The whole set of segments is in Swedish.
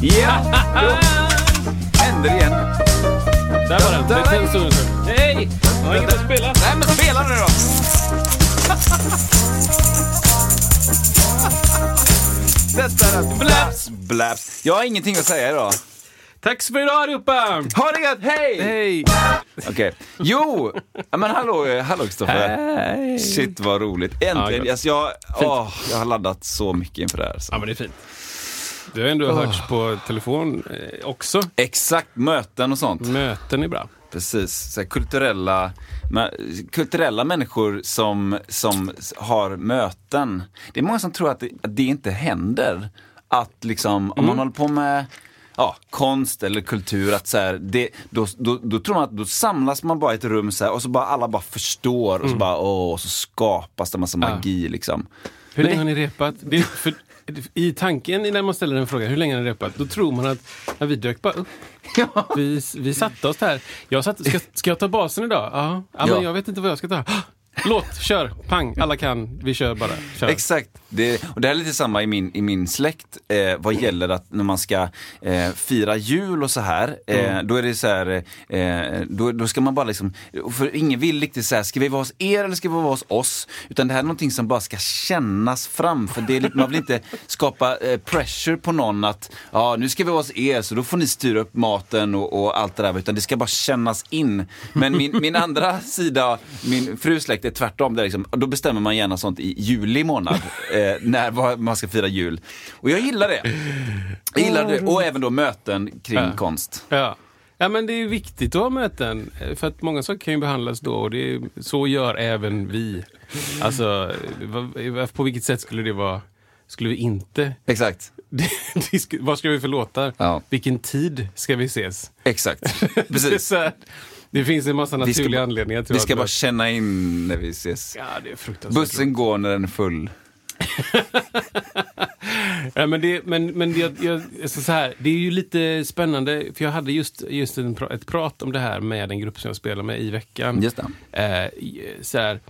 Ja! Händer igen. Där var den. Det är en stund sedan. Nej! Jag har inget att spela. Nej men spela nu då! Detta är blaps, blaps. Jag har ingenting att säga idag. Tack så för idag allihopa! Ha det gött, hej! Hej! Okej. Jo! Ja, Men hallå, eh, hallå Kristoffer. Shit vad roligt. Äntligen. gott. alltså, jag, åh, jag har laddat så mycket inför det här. Så. Ja men det är fint. Du har ändå hörts på telefon eh, också. Exakt, möten och sånt. Möten är bra. Precis, så här, kulturella, men- kulturella människor som, som s- har möten. Det är många som tror att det, att det inte händer. Att liksom, om man håller på med ja, konst eller kultur, att så här, det, då, då, då tror man att då samlas man bara i ett rum så här, och så bara alla bara förstår och så bara åh, och så skapas det massa magi liksom. Hur Nej. länge har ni repat? Det är för, I tanken när man ställer den frågan, hur länge har ni repat? Då tror man att ja, vi dök bara upp. Vi, vi satte oss där. Jag satt, ska, ska jag ta basen idag? Ja. ja, men Ja. jag vet inte vad jag ska ta. Låt, kör, pang, alla kan, vi kör bara. Kör. Exakt. Det, och det här är lite samma i min, i min släkt eh, vad gäller att när man ska eh, fira jul och så här, eh, då är det så här, eh, då, då ska man bara liksom, för ingen vill riktigt så här, ska vi vara hos er eller ska vi vara hos oss? Utan det här är någonting som bara ska kännas fram, för det är lite, man vill inte skapa eh, pressure på någon att, ja nu ska vi vara hos er så då får ni styra upp maten och, och allt det där, utan det ska bara kännas in. Men min, min andra sida, min frus släkt är tvärtom, där liksom, då bestämmer man gärna sånt i juli månad, eh, när vad man ska fira jul. Och jag gillar det. Jag gillar det, och även då möten kring Ja. konst. Ja. ja, men det är viktigt att ha möten. eh, För att många saker kan ju behandlas då och det är, så gör även vi. Alltså, va- va- på vilket sätt skulle det vara, skulle vi inte Exakt, Det- det sk- Vad ska vi för låtar? Ja. Vilken tid ska vi ses? exakt, Det, är precis. så här, det finns en massa Vi ska naturliga bara- anledningar till Vi att- ska bara känna in när vi ses. Ja, det är fruktansvärt. Bussen går när den är full. Ja, men det, men, men jag, jag, alltså så här, det är ju lite spännande, för jag hade just, just en, pra- ett prat om det här med en grupp som jag spelar med i veckan. Just det. Eh, i- så här,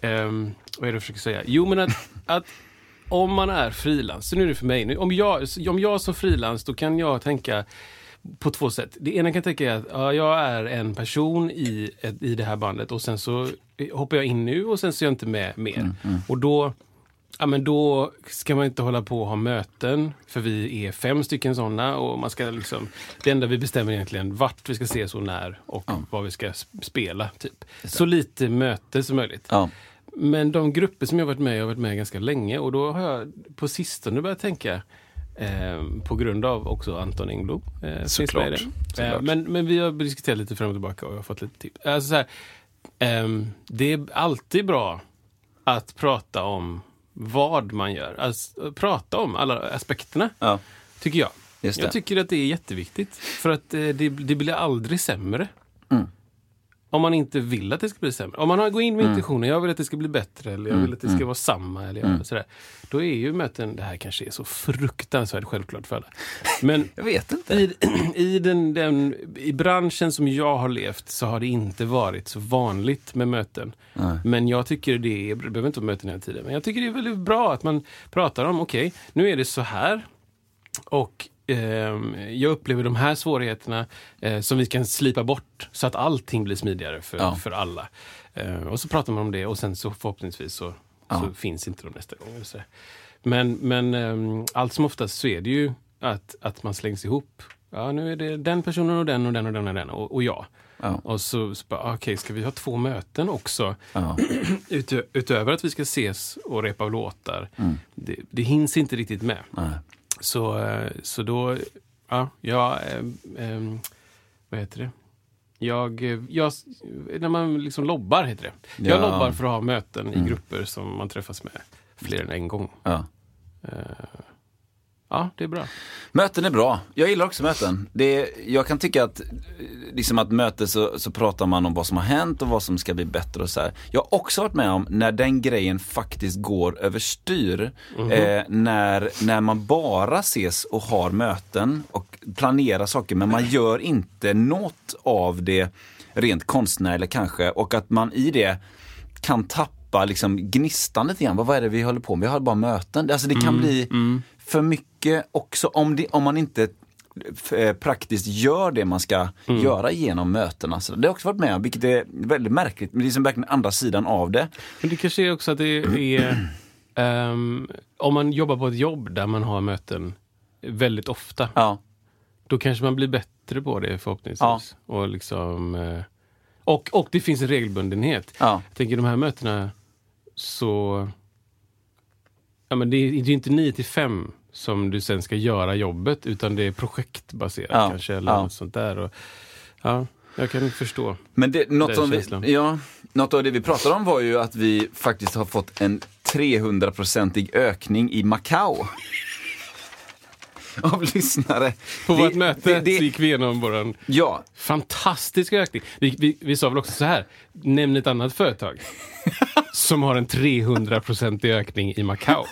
ehm, vad är det jag försöker säga? Jo, men att, att om man är frilans, så nu är det för mig, nu, om, jag, om jag som frilans, då kan jag tänka på två sätt. Det ena kan jag tänka är att ja, jag är en person i, ett, i det här bandet och sen så hoppar jag in nu och sen så är jag inte med mer. Och då, ja, men då ska man inte hålla på och ha möten, för vi är fem stycken sådana. Och man ska liksom, det enda vi bestämmer är egentligen vart vi ska ses och när och vad vi ska s- spela. Typ. Så lite möte som möjligt. Ja. Men de grupper som jag varit med i, jag har varit med ganska länge och då har jag på sistone börjat tänka Eh, på grund av också Anton Engblom. Eh, finns Såklart. med i det. Eh, Såklart. men, men vi har diskuterat lite fram och tillbaka och jag har fått lite tips. Alltså så här, ehm, det är alltid bra att prata om vad man gör. Alltså, prata om alla aspekterna, Ja. tycker jag. Just det. Jag tycker att det är jätteviktigt. För att eh, det, det blir aldrig sämre. Mm. Om man inte vill att det ska bli sämre. Om man har- går in Mm. med intentionen, jag vill att det ska bli bättre eller jag vill att det ska vara samma. Eller jag, Mm. sådär, då är ju möten, det här kanske är så fruktansvärt självklart för alla. Men Jag vet inte. i, i, den, den, I branschen som jag har levt så har det inte varit så vanligt med möten. Men jag tycker det är, det behöver inte vara möten hela tiden, men jag tycker det är väldigt bra att man pratar om, okej, nu är det så här och ehm, jag upplever de här svårigheterna eh, som vi kan slipa bort så att allting blir smidigare för, Ja. för alla. Eh, och så pratar man om det och sen så förhoppningsvis så, så finns inte de nästa gång. eller Så. Men, men ehm, allt som oftast så är det ju att, att man slängs ihop. Ja, nu är det den personen och den och den och den och den och, och jag. Ja. Och så, så bara, "Ah, okej, ska vi ha två möten också? Ja. Utö utöver att vi ska ses och repa låtar. Mm. Det, det hinns inte riktigt med. Så, eh, så då, ja, jag, ehm, ehm, vad heter det? Jag, eh, jag, när man liksom lobbar heter det. Jag Ja. lobbar Mm. för att ha möten i grupper som man träffas med fler än en gång. Ja. Eh, Ja, det är bra. Möten är bra. Jag gillar också möten. Det är, jag kan tycka att, eh, liksom att möte så, så pratar man om vad som har hänt och vad som ska bli bättre och så här. Jag har också varit med om när den grejen faktiskt går överstyr. eh, när, när man bara ses och har möten och planerar saker men man gör inte något av det rent konstnärligt kanske och att man i det kan tappa liksom gnistan lite grann. Vad, vad är det vi håller på med? Vi har bara möten. Alltså det kan Mm, bli för mycket också om, det, om man inte eh, praktiskt gör det man ska Mm. göra genom mötena. Så det har jag också varit med om, vilket är väldigt märkligt. Men det är liksom verkligen andra sidan av det. Men det kanske är också att det är... ehm, om man jobbar på ett jobb där man har möten väldigt ofta, Ja, då kanske man blir bättre på det förhoppningsvis. Ja. Och, liksom, eh, och, och det finns en regelbundenhet. ja, Jag tänker de här mötena så... Ja, men det är det är ju inte 9 till 5 som du sen ska göra jobbet, utan det är projektbaserat Ja, kanske. Eller ja. något sånt där. Och, ja, jag kan förstå. Men det, något, Den som vi, känslan. ja, något av det vi pratade om var ju att vi faktiskt har fått en 300-procentig ökning i Macau. Av lyssnare. På Det- vårt möte det- det- gick vi igenom våran Ja, fantastisk ökning. Vi, vi, vi sa väl också så här, nämn ett annat företag som har en 300-procentig ökning i Macau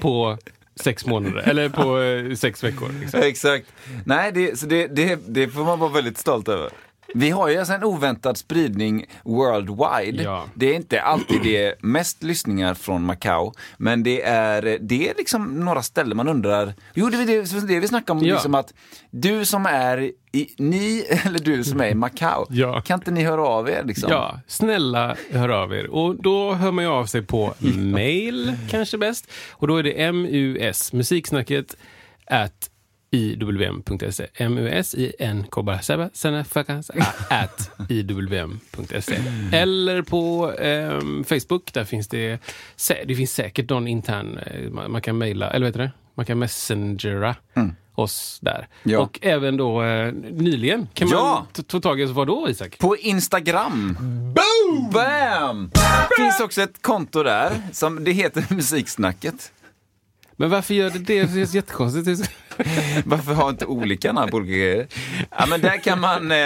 på sex månader, eller på eh, sex veckor. Liksom. exakt. Nej, det, så det, det, det får man vara väldigt stolt över. Vi har ju alltså en oväntad spridning worldwide. Ja. Det är inte alltid det mest lyssningar från Macau, men det är, det är liksom några ställen man undrar. Jo, det är det, det vi snackade om, Ja. liksom att du som är i, ni, eller du som är i Macau, Ja. kan inte ni höra av er liksom? Ja, snälla hör av er. Och då hör man ju av sig på mail, kanske bäst. Och då är det mus, musiksnacket, at iwm.se. mus i n k bara säga, sen är fuckans- at iwm.se. E. Eller på ehm, Facebook, där finns det, sä- det finns säkert någon intern, eh, man, man kan mejla, eller vad heter det? Man kan messengera oss där. Mm. Ja. Och även då eh, nyligen kan Ja! man t- ta tag i oss, vadå Isak? På Instagram. Boom! Bam! Finns också ett konto där, som, det heter Musiksnacket. Men varför gör det det? Det känns jättekonstigt. Varför har inte olika namn på olika grejer? Ja, men där kan man, eh,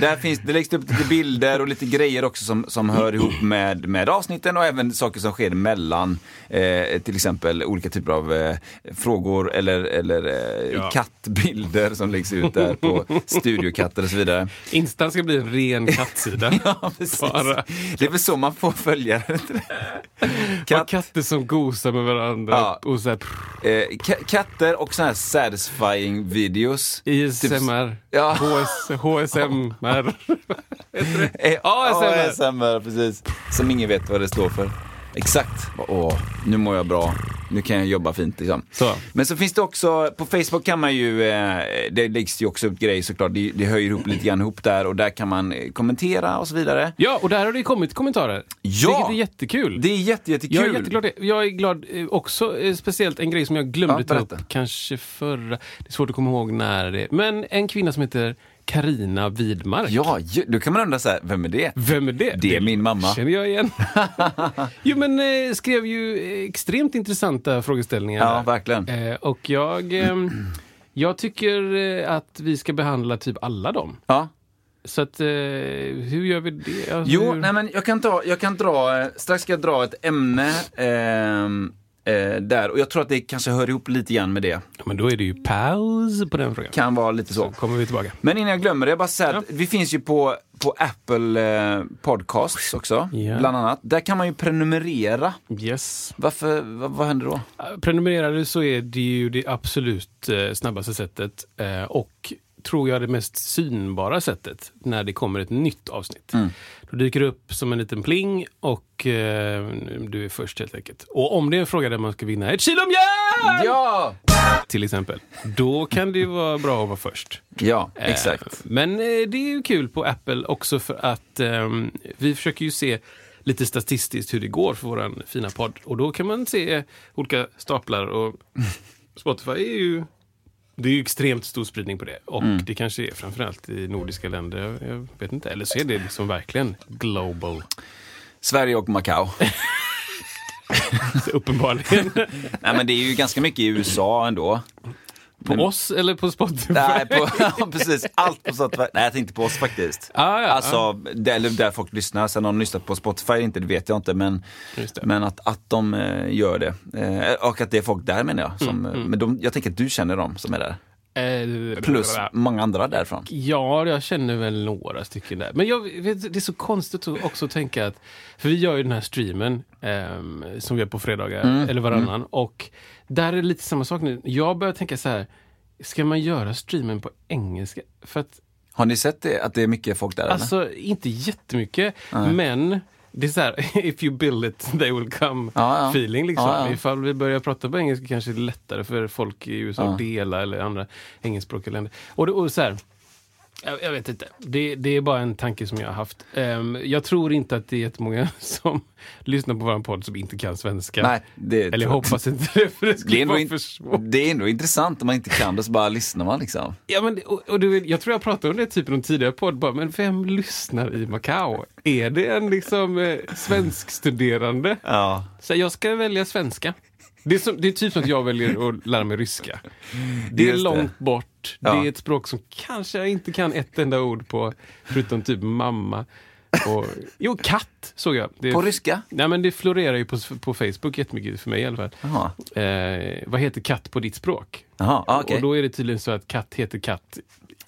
där finns, det läggs upp lite bilder och lite grejer också som, som hör ihop med, med avsnitten och även saker som sker mellan eh, till exempel olika typer av eh, frågor eller, eller eh, Ja. kattbilder som läggs ut där på studiokatter och så vidare. Instan ska bli en ren kattsida. Ja, precis. Bara. Det är väl så man får följare. Katt. Katt, Katter som gosar med varandra Ja. och så här, prr, eh, ka- katter och sådana här satisfying videos. Typ ISMR, Ja. HS, HSMR. Eh, ASMR. ASMR, precis. Som ingen vet vad det står för. Exakt. Åh, nu mår jag bra. Nu kan jag jobba fint liksom. Så. Men så finns det också, på Facebook kan man ju, eh, det läggs ju också upp grejer såklart. Det, det höjer ihop lite grann ihop där och där kan man eh, kommentera och så vidare. Ja, och där har det kommit kommentarer. Ja. Vilket är jättekul. Det är jätte, jättekul. Jag är jätteglad. det. Jag är glad eh, också, eh, speciellt en grej som jag glömde Ja, ta upp, berätta. kanske förra. Det är svårt att komma ihåg när det är. Men en kvinna som heter Karina Widmark. Ja, ju- då kan man undra så här, vem är det? Vem är det? Det är min mamma. känner jag igen. jo, men eh, skrev ju eh, extremt intressanta frågeställningar. Ja, där. verkligen. Eh, och jag, ehm, jag tycker eh, att vi ska behandla typ alla dem. Ja. Så att, eh, hur gör vi det? Alltså, Jo, hur... nej men jag kan, dra, jag kan dra, eh, strax ska jag dra ett ämne ehm, eh, där och jag tror att det kanske hör ihop lite grann med det. Ja, men då är det ju paus på den frågan. Kan vara lite så. Så kommer vi tillbaka. Men innan jag glömmer det, jag bara säger att vi finns ju på, på Apple eh, Podcasts också, Ja. bland annat. Där kan man ju prenumerera. Yes. Varför, vad, vad händer då? Eh, Prenumererar du så är det ju det absolut eh, snabbaste sättet. Eh, och tror jag det mest synbara sättet när det kommer ett nytt avsnitt. Då dyker det upp som en liten pling och eh, du är först helt enkelt. Och om det är en fråga där man ska vinna ett kilo mjöl! Ja! Till exempel. Då kan det ju vara bra att vara först. Ja, Eh, exakt. Men eh, det är ju kul på Apple också för att ehm, vi försöker ju se lite statistiskt hur det går för våran fina podd. Och då kan man se olika staplar och Spotify är ju... Det är ju extremt stor spridning på det. Och Mm. det kanske är framförallt i nordiska länder. Jag, jag vet inte. Eller så är det liksom verkligen global. Sverige och Macau. Uppenbarligen. Nej men det är ju ganska mycket i USA ändå. På oss eller på Spotify? Nej, på, ja, precis. Allt på Spotify. Nej, jag tänkte på oss faktiskt. Ah, ja, alltså, Där, eller där folk lyssnar. Sen om de lyssnar på Spotify eller inte, det vet jag inte. Men, Just det. men att, att de eh, gör det. Eh, och att det är folk där menar jag. Som, Mm, eh, Men de, jag tänker att du känner dem som är där. Eh, Plus många andra därifrån. Ja, jag känner väl några stycken där. Men jag vet, det är så konstigt att också tänka att... För vi gör ju den här streamen ehm, som vi gör på fredagar, eller varannan. Och där är det lite samma sak nu. Jag börjar tänka så här, ska man göra streamen på engelska? För att, Har ni sett det, att det är mycket folk där? eller? alltså, inte jättemycket, men... Det är så här, if you build it, they will come Ja, ja. feeling. Liksom. Ja, ja. Ifall vi börjar prata på engelska kanske det är lättare för folk i USA att dela eller andra engelskspråkiga länder. Och, det- och så här, jag, jag vet inte. Det, det är bara en tanke som jag har haft. Ehm, jag tror inte att det är jättemånga som lyssnar på vår podd som inte kan svenska. Nej, det eller tror jag jag hoppas inte det, för det Det är, skulle ändå vara in, för svårt. det är ändå intressant om man inte kan det så bara lyssnar man liksom. Ja, men, och, och du, vet, jag tror jag pratade om det typ i någon tidigare podd, bara, men vem lyssnar i Macao? Är det en liksom eh, svenskstuderande? Ja. Så här, jag ska välja svenska. Det är, som, det är typ som att jag väljer att lära mig ryska. Det är Just det. långt bort. Ja. Det är ett språk som kanske jag inte kan ett enda ord på, förutom typ mamma. Och, jo, katt såg jag. Det, På ryska? Nej, men det florerar ju på, på Facebook jättemycket för mig i alla fall. Jaha, Eh, vad heter katt på ditt språk? Jaha ah, okej. Och då är det tydligen så att katt heter katt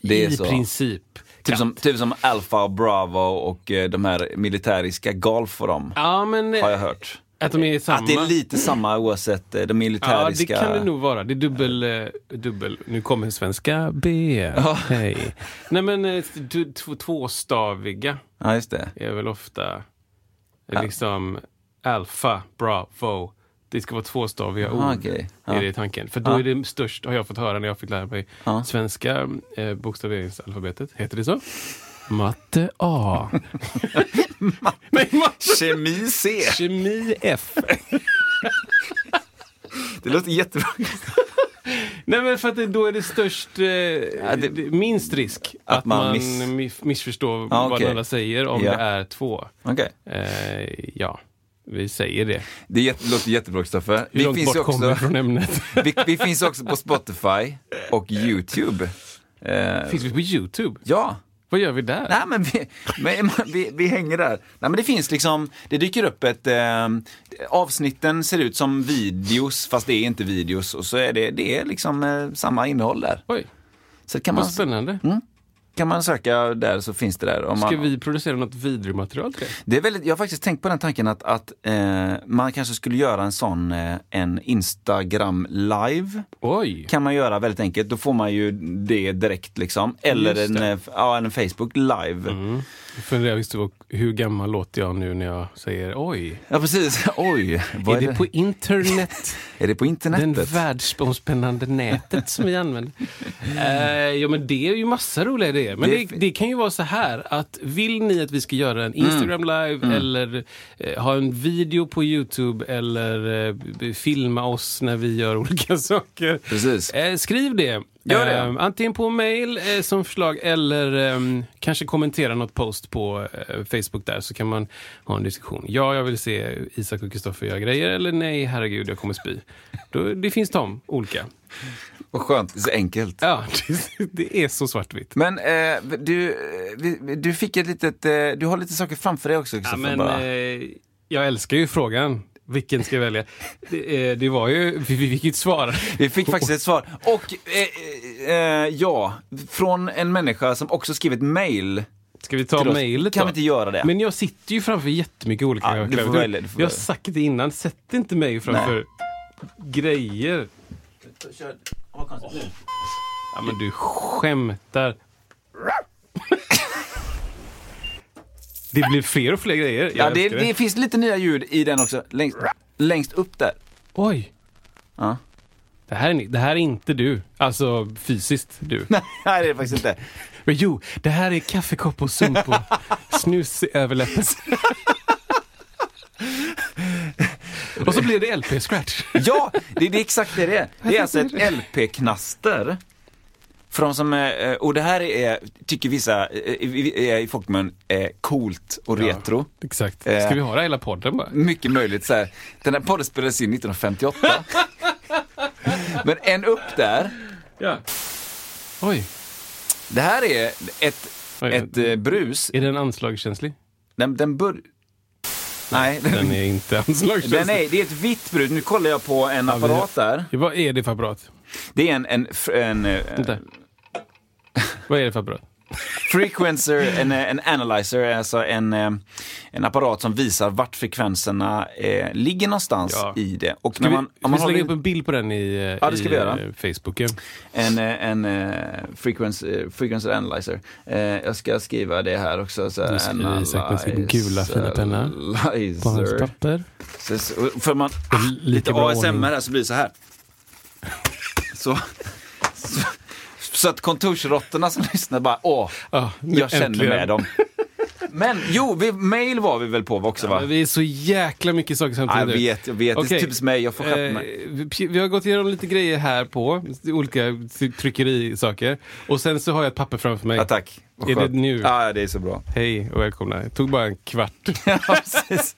Det är i så. princip. Typ som, typ som Alfa och Bravo och eh, de här militäriska Golf och dem. Ja, men eh, Har jag hört. att de är samma. Att det är lite samma oavsett eh, de Ja, det militäriska. kan det nog vara. Det är dubbel... Eh, dubbel. Nu kommer svenska B. Hej. Nej, men eh, du, t- tvåstaviga Ja, just det. är väl ofta eh, liksom alfa, bravo. Det ska vara tvåstaviga ord. Ah, okej. Ja. Är det tanken. För då är det störst, har jag fått höra när jag fick lära mig svenska eh, bokstaveringsalfabetet. Heter det så? Matte A. Nej, matte. Kemi C. Kemi F. Det låter jättebra. Nej men för att det, då är det störst, eh, det- det- minst risk att, att man, man miss- mi- missförstår Ja, vad okej. den andra säger om Ja. det är två. Okej. Eh, ja, vi säger det. Det är jätte, låter jättebra Kristoffer. Hur långt bort ju kommer vi från ämnet? vi, vi finns också på Spotify och YouTube. Eh, finns vi på Youtube? ja. Vad gör vi där? Nej men vi, men, vi, vi hänger där. Nej men det finns liksom, det dyker upp ett, eh, avsnitten ser ut som videos fast det är inte videos och så är det, det är liksom eh, samma innehåll där. Oj, Så kan man, vad spännande. kan man söka där så finns det där. Om Ska man, vi producera något vidrig material till det? det är väldigt, jag har faktiskt tänkt på den tanken att, att eh, man kanske skulle göra en sån, eh, en Instagram live. Oj! kan man göra väldigt enkelt. Då får man ju det direkt liksom. Eller Just en, det. Mm. eh, ja, en Facebook live. Jag funderar just på hur gammal låter jag nu när jag säger oj? Ja precis. Oj, vad Är det på internet? är det på internetet? Den världsomspännande nätet som vi använder. Eh, ja, men det är ju massa roliga idéer. Men Mm. Det det, är det, fi- Mm. kan ju vara så här att vill ni att vi ska göra en Instagram live eller eh, ha en video på Youtube eller eh, b- filma oss när vi gör olika saker. Precis. Eh, skriv det. Gör det. Eh, antingen på mail eh, som förslag eller ehm, kanske kommentera något post på eh, Facebook där så kan man ha en diskussion. Ja, jag vill se Isak och Kristoffer göra grejer eller nej, herregud, jag kommer spy. Då, det finns de olika. Vad skönt, det är så enkelt. Ja, det, det är så svartvitt. Men eh, du, eh, vi- du fick ett litet, eh, du har lite saker framför dig också Ja, Kristoffer. men, bara. eh, jag älskar ju frågan. Vilken ska jag välja? Det, eh, det var ju... Vi, vi fick ju ett svar. Vi fick faktiskt oh. ett svar. Och eh, eh, ja, från en människa som också skrivit mail. Ska vi ta Till oss. mejlet Kan då? vi inte göra det? Men jag sitter ju framför jättemycket olika Ja, du får jag, välja, du får jag har välja. sagt det innan, sätt inte mig framför grejer. Ja, men du skämtar. det blir fler och fler grejer. Jag Ja, det, älskar det finns lite nya ljud i den också. Längst, längst upp där. Oj! Ja. Det här, är, ni- det här är inte du, alltså fysiskt du. Nej, det är det faktiskt inte. Men jo, det här är kaffekopp och sump och snus i överläppen. och så blir det LP-scratch. Ja, det, det är exakt det det är. Det är alltså ett LP-knaster. För de som, eh, och det här är, tycker vissa eh, i eh, i folkmun, är coolt och retro. Exakt. Eh. Ska vi höra hela podden bara? Mycket möjligt så här. Den här podden spelades in 1958. Men en upp där Ja. Oj, Det här är ett, Oj, ett eh, brus. är den anslagskänslig? Den, den bör... Nej, Den den, är inte anslagskänslig. den är, det är ett vitt brus. Nu kollar jag på en men- apparat där. Ja, Vad är det för apparat? Det är en, en, fr- en, eh, Vänta. Vad är det för apparat? frequencer, en, eh, en analyzer, alltså en, eh, en apparat som visar vart frekvenserna eh, ligger någonstans Ja. i det. Och Ska när vi, man, om man ska håller vi lägga upp in en bild på den i, eh, Ja, det ska i vi göra. eh, Facebooken? en, eh, en eh, frequency, eh, frequency analyzer. Eh, jag ska skriva det här också. Så Du skriver Isak med sin gula fina penna. På hans Analyzer. papper. Så, så, för man Det är lite Lika bra ASMR ordning. här så blir det så här. Så, så, så att kontorsråttorna som lyssnar bara åh, Ja, jag känner äntligen. med dem. Men jo, vi, mail var vi väl på också va? Men Vi är så jäkla mycket saker Ja, jag samtidigt. vet, jag vet. Det Okej. är typiskt mig, jag får skärpa Eh, mig. vi- vi har gått igenom lite grejer här på, olika ty- tryckerisaker. Och sen så har jag ett papper framför mig. Ja, tack. Vad är det skönt. nu? Ja, det är så bra. Hej och välkomna. Det tog bara en kvart. Ja, precis.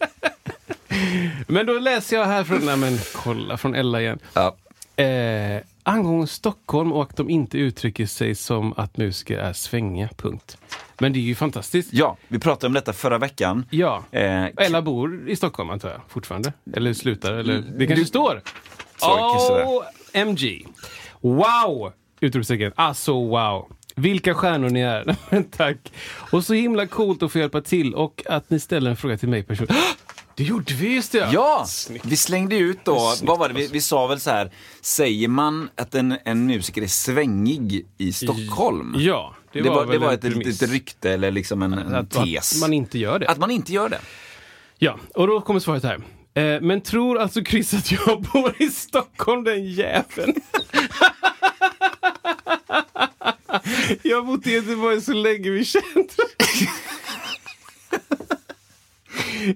Men då läser jag här från, nej men kolla, från Ella igen. Ja. Eh, angående Stockholm och att de inte uttrycker sig som att musiker är svänga, punkt. Men det är ju fantastiskt. ja, vi pratade om detta förra veckan. Ja. Eh, Ella bor i Stockholm antar jag, fortfarande. Eller slutar, eller Mm, det kanske står. kanske det är. OMG. Wow! Utropstecken. Alltså wow. Vilka stjärnor ni är. Men Tack. Och så himla coolt att få hjälpa till och att ni ställer en fråga till mig personligen. Det gjorde vi just det! Ja, Snyggt. vi slängde ut då, vad var det, alltså. vi, vi sa väl så här, säger man att en, en musiker är svängig i Stockholm? Ja, det, Det, var, väl det var en ett premiss. litet rykte eller liksom en, en att, tes. att man inte gör det. Att man inte gör det. Ja, och då kommer svaret här. Eh, men tror alltså Chris att jag bor i Stockholm den jäveln? jag har bott i Göteborg så länge vi känt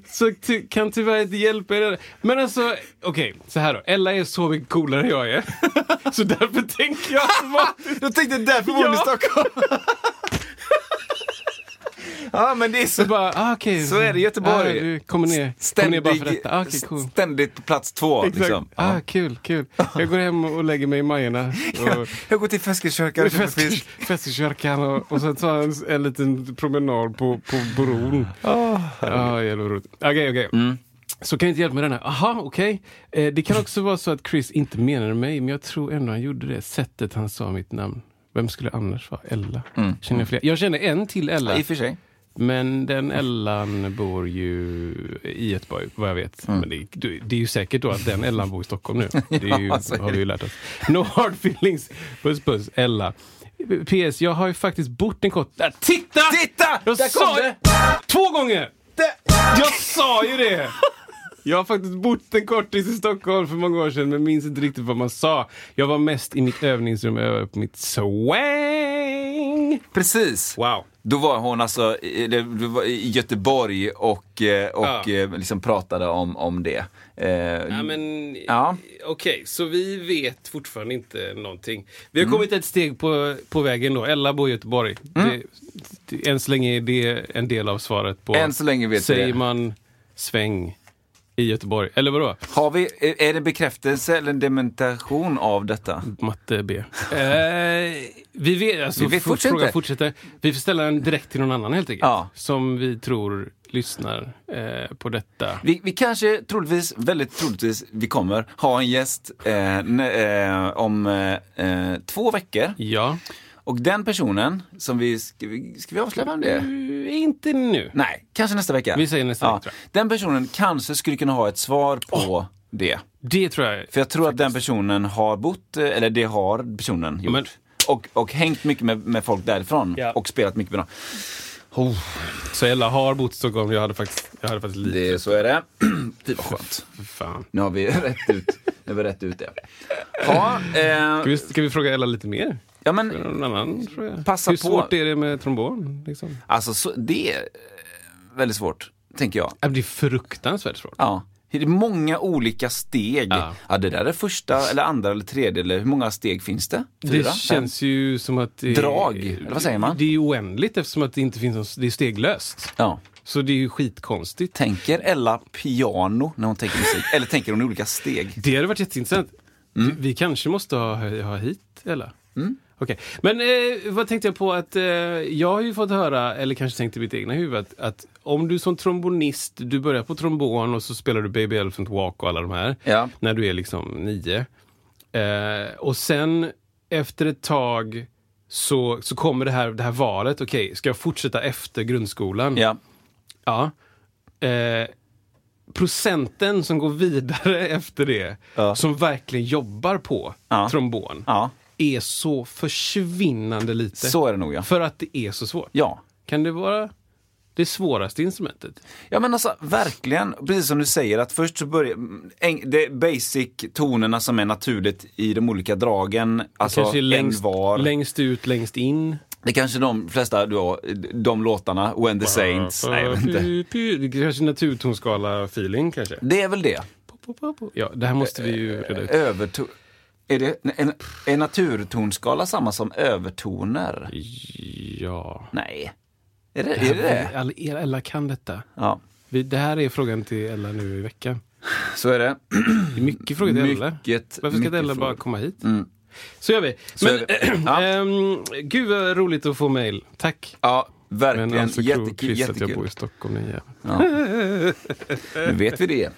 Så ty- kan tyvärr inte hjälpa er. Men alltså, okej, så här då. Ella är så mycket coolare än jag är. så därför tänker jag automatiskt. Jag tänkte därför bor Ja. i Stockholm. ja men det är så. Så bara, ah, okej. Så är det i Göteborg. Ah, du kommer ner, kommer ner bara för detta. Ah, okej, cool. ständigt på plats två. Liksom. Ah, kul, kul. Jag går hem och lägger mig i Majorna. Och Jag går till Feskekyrkan. fest- Festkyrkan och, och sen tar jag en, en liten promenad på, på bron. ah, jävla roligt. Okej, okej. Mm. Så kan jag inte hjälpa med den här. Aha, okej. Eh, det kan också vara så att Chris inte menade mig, men jag tror ändå han gjorde det. Sättet han sa mitt namn. Vem skulle annars vara? Ella. Känner jag, fler? jag känner en till Ella. Mm. I och för sig. Men den Ellan bor ju i Göteborg, vad jag vet. Mm. Men det, du- det är ju säkert då att den Ellan bor i Stockholm nu. Det är ju, Ja, så är har vi ju det. lärt oss. No hard feelings. Puss puss, Ella. PS, jag har ju faktiskt bort en kort... Där, titta! Titta! Jag Där sa kom det! det! Två gånger! Jag sa ju det! Jag har faktiskt bott en kortis i Stockholm för många år sedan men minns inte riktigt vad man sa. Jag var mest i mitt övningsrum och övade på mitt swang. Precis. Wow. Då var hon alltså i, det- det var i Göteborg och, eh, och Ja. eh, liksom pratade om, om det. Eh, Ja, men Ja. okej, så vi vet fortfarande inte någonting. Vi har Mm. kommit ett steg på, på vägen då. Ella bor i Göteborg. Det, det, än så länge är det en del av svaret på... Än så länge vet vi Säger det. man sväng i Göteborg? Eller vadå? Har vi, är är det bekräftelse eller en dementation av detta? Matte B. eh, vi vet, alltså, Vi vet fort- fortsätter. frågan fortsätter. Vi får ställa den direkt till någon annan helt enkelt. Ja. Som vi tror lyssnar eh, på detta. Vi, vi kanske troligtvis, väldigt troligtvis, vi kommer ha en gäst eh, n- eh, om eh, eh, två veckor. Ja. Och den personen som vi, ska vi, ska vi avslöja vem det är? Eh, Inte nu. Nej, kanske nästa vecka. Vi säger nästa vecka, tror Den personen kanske skulle kunna ha ett svar på det. Det tror jag För jag tror att den personen har bott, eh, eller det har personen gjort. Men- Och, och hängt mycket med, med folk därifrån Ja. och spelat mycket med dem. Oh. Så Ella har bott i Stockholm, jag hade faktiskt, jag hade faktiskt lite... Det, så är det. Fy vad skönt. Fan. Nu har vi rätt ut, nu har vi rätt ut det. Ja, eh, Ska vi, ska vi fråga Ella lite mer? ja Eller men Någon annan fråga? Passa Hur på. svårt är det med trombon? Liksom? alltså så, det är eh, väldigt svårt, tänker jag. Ja, men Det är fruktansvärt svårt. Ja. Det är många olika steg. Ja. Ja. det där är första, eller andra eller tredje, eller hur många steg finns det? det Fyra? känns ju som att... Det, Drag, eller vad säger man? Det är ju oändligt eftersom att det inte finns någon, det är steglöst. Ja. Så det är ju skitkonstigt. Tänker Ella piano när hon tänker musik? eller tänker hon i olika steg? Det hade varit jätteintressant. Mm. Vi- Vi kanske måste ha, ha hit, eller? Okej, men eh, vad tänkte jag på att eh, jag har ju fått höra, eller kanske tänkt i mitt egna huvud, att, att om du som trombonist, du börjar på trombon och så spelar du Baby Elephant Walk och alla de här, Ja. när du är liksom nio. Eh, och sen efter ett tag så, så kommer det här, det här valet, okej, ska jag fortsätta efter grundskolan? Ja. Ja. Eh, procenten som går vidare efter det, Ja. som verkligen jobbar på Ja. trombon, ja. är så försvinnande lite. Så är det nog ja. För att det är så svårt. Ja. Kan det vara det svåraste instrumentet? Ja men alltså verkligen, precis som du säger att först så börjar, eng- det är basic tonerna som är naturligt i de olika dragen, alltså Kanske längst, en var. längst ut, längst in. Det är kanske de flesta, då, de låtarna, When the Saints, nej jag vet inte. Py, py, det är Kanske naturtonskala-feeling kanske. Det är väl det. Pop, pop, pop, pop. Ja, det här måste vi ju reda Eh, ut. Överton... Är, det, en, är naturtonskala samma som övertoner? Ja. Nej. Är det eh. är det? det? Alla, Ella kan detta. Ja, Vi, det här är frågan till Ella nu i veckan. så är det. Det är mycket frågor till Ella. Mycket, Varför ska mycket inte Ella bara frågor. Mm. komma hit? Så gör vi. Men, är det. Ja. ehm, gud vad roligt att få mejl. Tack. Ja, Men verkligen alltså, jättekul. jättekul, att jag bor jättekul. i Stockholm den jäveln. Nu vet vi det.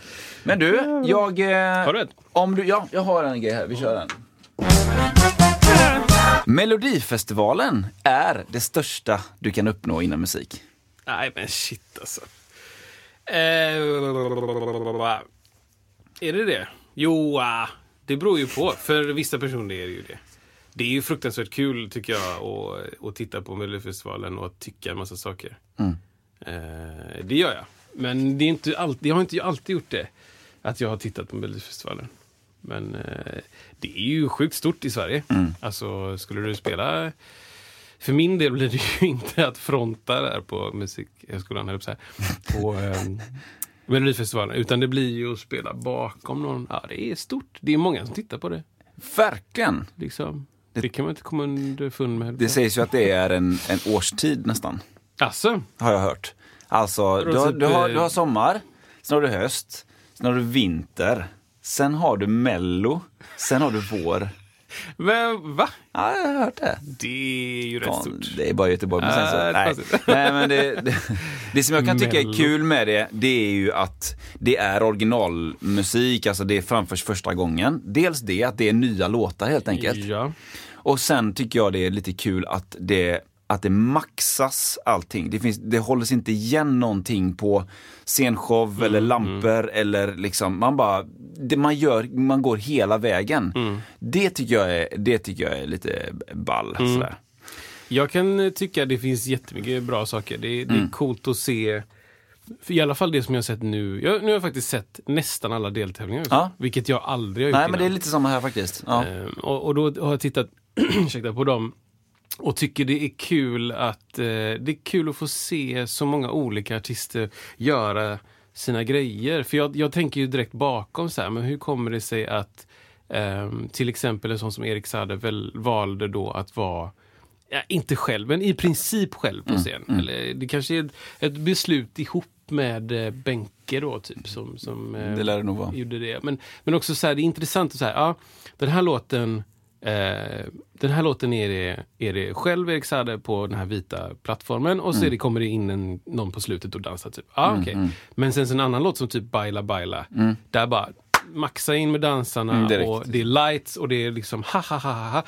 Men du, jag... eh, Har du ett? Om du, ja, jag har en grej här. Vi kör den. Melodifestivalen är det största du kan uppnå inom musik. Nej men shit alltså. Eh, är det det? Jo, ah, det beror ju på. För vissa personer är det ju det. Det är ju fruktansvärt kul tycker jag att, att titta på Melodifestivalen och att tycka en massa saker. Eh, det gör jag. Men det är inte alltid, jag har inte alltid gjort det. Att jag har tittat på Melodifestivalen. Men eh, det är ju sjukt stort i Sverige. Alltså, skulle du spela... För min del blir det ju inte att fronta där på Musikhögskolan, höll jag på att säga. På ehm, Melodifestivalen. Utan det blir ju att spela bakom någon. Ja, det är stort. Det är många som tittar på det. Verkligen! Liksom. Det, kan man inte komma underfund med. Det sägs ju att det är en, en årstid nästan, Alltså, har jag hört. Alltså, du har, du, har, eh, du har sommar, sen har du höst, sen har du vinter, sen har du mello, sen har du vår. men, va? Ja, jag har hört det. Det är ju rätt Fan, stort. det är bara Göteborg. Men sen så, Äh, det är nej. konstigt. nej, men det, det, det som jag kan tycka är Mello. kul med det, det är ju att det är originalmusik, alltså det framförs första gången. Dels det, att det är nya låtar helt enkelt. Ja. Och sen tycker jag det är lite kul att det, att det maxas allting. Det, finns, det hålls inte igen någonting på scenshow Mm, eller lampor eller liksom, man bara, det man gör, man går hela vägen. Mm. Det, tycker jag är, det tycker jag är lite ball. Mm. Sådär. Jag kan eh, tycka det finns jättemycket bra saker. Det, Mm. det är coolt att se, för i alla fall det som jag har sett nu. Jag, nu har jag faktiskt sett nästan alla deltävlingar. också, Ja. Vilket jag aldrig har gjort Nej men det är innan. lite samma här faktiskt. Ja. Ehm, och, och då har jag tittat ursäkta, på dem och tycker det är kul att eh, det är kul att få se så många olika artister göra sina grejer. För jag, jag tänker ju direkt bakom så här, men hur kommer det sig att ehm, till exempel en sån som Erik Saade väl valde då att vara Ja, inte själv, men i princip själv Mm, på scen. Eller, det kanske är ett, ett beslut ihop med eh, Benke då, typ. Som, som, eh, Det lär det nog vara. gjorde det. Men, men också så här, det är intressant att så här, ja, den här låten eh, den här låten är det, är det själv Erik Saade på den här vita plattformen och så Mm. är det, kommer det in en, någon på slutet och dansar. Typ. Ja, okej. Men sen så en annan låt som typ Baila Baila, där bara maxa in med dansarna Mm, direkt. och det är lights och det är liksom ha ha ha ha. ha.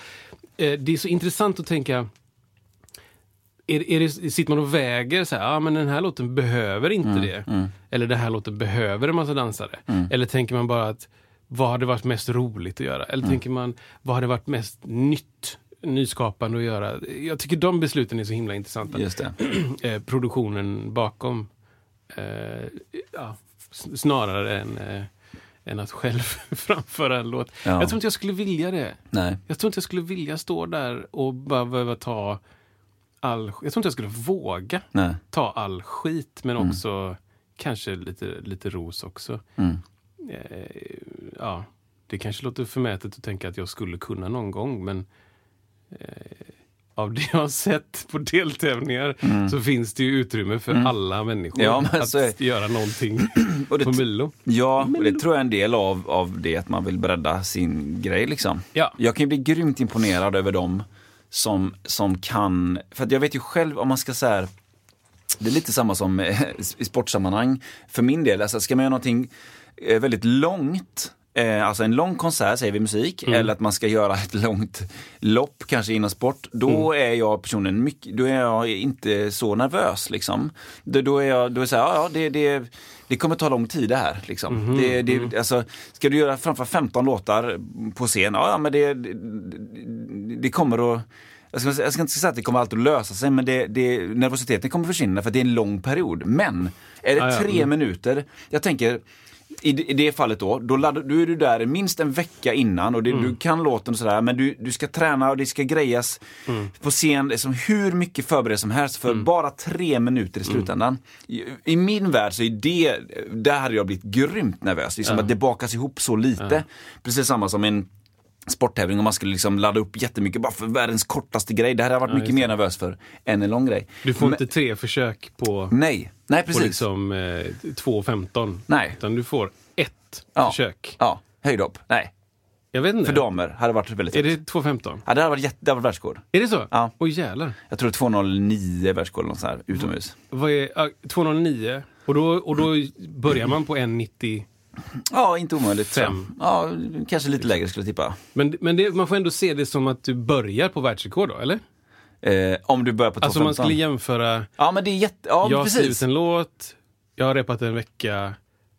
Eh, det är så intressant att tänka är, är det, sitter man och väger så här, ah, men den här låten behöver inte Mm, det. Eller den här låten behöver en massa dansare. Eller tänker man bara att vad hade varit mest roligt att göra? Eller Mm. tänker man vad hade varit mest nytt, nyskapande att göra? Jag tycker de besluten är så himla intressanta. Just det. eh, produktionen bakom. Eh, ja, s- snarare än, eh, än att själv framföra en låt. Ja. Jag tror inte jag skulle vilja det. Nej. Jag tror inte jag skulle vilja stå där och bara behöva ta all... Jag tror inte jag skulle våga Nej. ta all skit, men Mm. också kanske lite, lite ros också. Mm. Eh, ja, det kanske låter förmätet att tänka att jag skulle kunna någon gång, men eh, av det jag har sett på deltävlingar så finns det ju utrymme för alla människor Mm. Ja, men att så är- göra någonting Och det- på Milo. Ja, och det tror jag är en del av, av det, att man vill bredda sin grej liksom. Ja. Jag kan ju bli grymt imponerad över dem som, som kan, för att jag vet ju själv om man ska så här det är lite samma som eh, i sportsammanhang för min del. Alltså, ska man göra någonting eh, väldigt långt, eh, alltså en lång konsert säger vi musik, eller att man ska göra ett långt lopp kanske inom sport, då är jag personen mycket, då är jag inte så nervös liksom. Då, då är jag, då är det så här, ja, ja det, det, det kommer ta lång tid det här liksom. det, det, alltså, ska du göra framför 15 låtar på scen, ja, ja men det, det, det kommer att jag ska, jag ska inte säga att det kommer alltid att lösa sig, men det, det, nervositeten kommer försvinna för att det är en lång period. Men är det Ah, ja. tre Mm. minuter, jag tänker, i, det- i det fallet då, då, laddar, då är du där minst en vecka innan och det, Mm. du kan låten och sådär, men du, du ska träna och det ska grejas Mm. på scen, liksom hur mycket förberedelse som helst för bara tre minuter Mm. i slutändan. I, I min värld så är det, där hade jag blivit grymt nervös, liksom att det bakas ihop så lite. Precis samma som en sporttävling och man skulle liksom ladda upp jättemycket bara för världens kortaste grej. Det här har jag varit mycket mer nervös för än en lång grej. Du får Men- inte tre försök på, Nej, nej på precis. liksom, eh, 2.15. Nej. Utan du får ett ja. försök. Ja, höjdhopp. Nej, Jag vet inte. för damer hade varit väldigt Är högt. det 2.15? Ja, det hade varit, jätte, det hade varit världsrekord. Är det så? Ja. Oj jävlar. Jag tror det är 209 världsrekord eller något sånt här utomhus. Vad är, ja, 209 och då, och då börjar man på 190. Ja, inte omöjligt. tror jag. Fem. Ja, kanske lite lägre skulle jag tippa. Men, men det, man får ändå se det som att du börjar på världsrekord då, eller? Eh, om du börjar på topp Alltså om man 15. skulle jämföra, Ja, men det är jätte... Ja, jag har precis. skrivit en låt, jag har repat en vecka,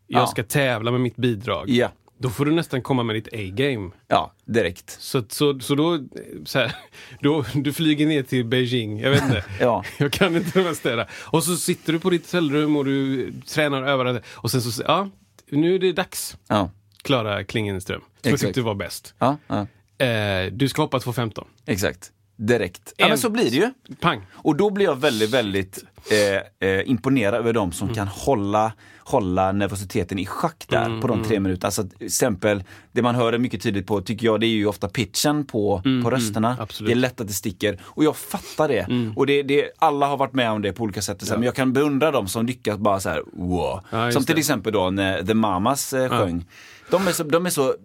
jag Ja. ska tävla med mitt bidrag. Ja. Då får du nästan komma med ditt A-game. Ja, direkt. Så, att- så, så, då, så här, då, du flyger ner till Beijing, jag vet inte. Ja. Jag kan inte de här städerna. Och så sitter du på ditt hotellrum och du tränar och övar. Och sen så, ja, nu är det dags. Ja, Klara Klingenström, som jag Exakt. tyckte var bäst. ja, ja. Eh, du ska hoppa 2.15. exakt. Direkt. Ja, men En- så blir det ju. Pang! Och då blir jag väldigt, väldigt eh, eh, imponerad över de Mm. som kan hålla, hålla nervositeten i schack där Mm, på de tre minuterna. Alltså till exempel, det man hör mycket tydligt på tycker jag, det är ju ofta pitchen på, på rösterna. Mm, absolut. Mm. det är lätt att det sticker. Och jag fattar det. Och det, det, alla har varit med om det på olika sätt. Så här, Men jag kan beundra de som lyckas bara så här, wow. Ja, just som till det. exempel då när The Mamas eh, sjöng. De är, så, de är så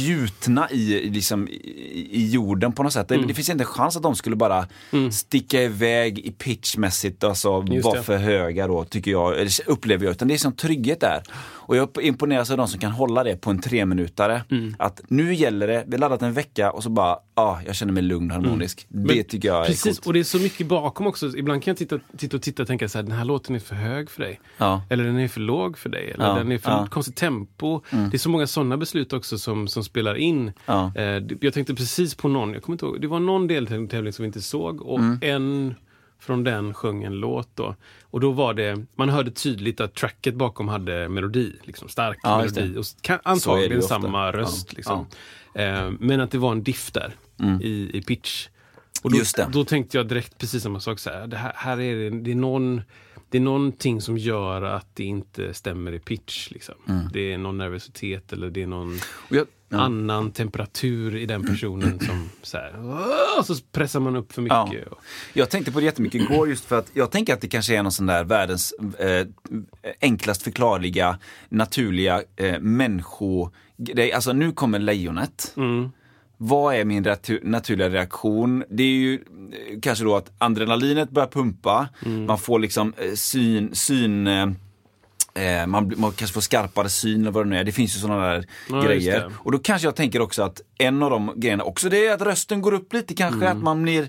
gjutna i, i liksom, i, i jorden på något sätt. Det, Mm. det finns inte en chans att de skulle bara sticka iväg i pitchmässigt, alltså Just vara det. för höga då, tycker jag, eller upplever jag. Utan det är som trygghet där. Och jag imponeras av de som kan hålla det på en treminutare. Mm. Att nu gäller det, vi har laddat en vecka och så bara, ah, jag känner mig lugn och harmonisk. Det Mm. Men- tycker jag är Precis, coolt. och det är så mycket bakom också. Ibland kan jag titta, titta och titta och tänka så här, den här låten är för hög för dig. Ja. Eller den är för låg för dig. Eller Ja, den är för ja. Mm. konstigt tempo. Det är så många sådana beslut också som, som spelar in. Ja. Eh, det- jag tänkte precis på någon, jag kommer inte ihåg, det var någon deltävling som vi inte såg och Mm. en från den sjöng en låt då. Och då var det, man hörde tydligt att tracket bakom hade melodi, liksom stark Ja, just det. melodi. Och s- kan, Så är det ju antagligen ofta. samma Ja, röst. Mm. Liksom. Eh, men att det var en diff där i, i pitch. Och då, Just det. då tänkte jag direkt precis samma sak. Så här, det här, här är det, det, är någon, det är någonting som gör att det inte stämmer i pitch. Liksom. Det är någon nervositet eller det är någon Mm. Och jag- annan temperatur i den personen som så här, "Åh!" så pressar man upp för Ja. mycket. Och- Jag tänkte på det jättemycket igår just för att jag tänker att det kanske är någon sån där världens eh, enklast förklarliga, naturliga eh, människogrej. Alltså nu kommer lejonet. Mm. Vad är min ratu- naturliga reaktion? Det är ju eh, kanske då att adrenalinet börjar pumpa, Mm. man får liksom eh, syn, syn eh, Eh, man, blir- man kanske får skarpare syn eller vad det nu är. Det finns ju sådana där Ja, grejer. just det. Och då kanske jag tänker också att en av de grejerna också det är att rösten går upp lite kanske. Mm. Att man blir,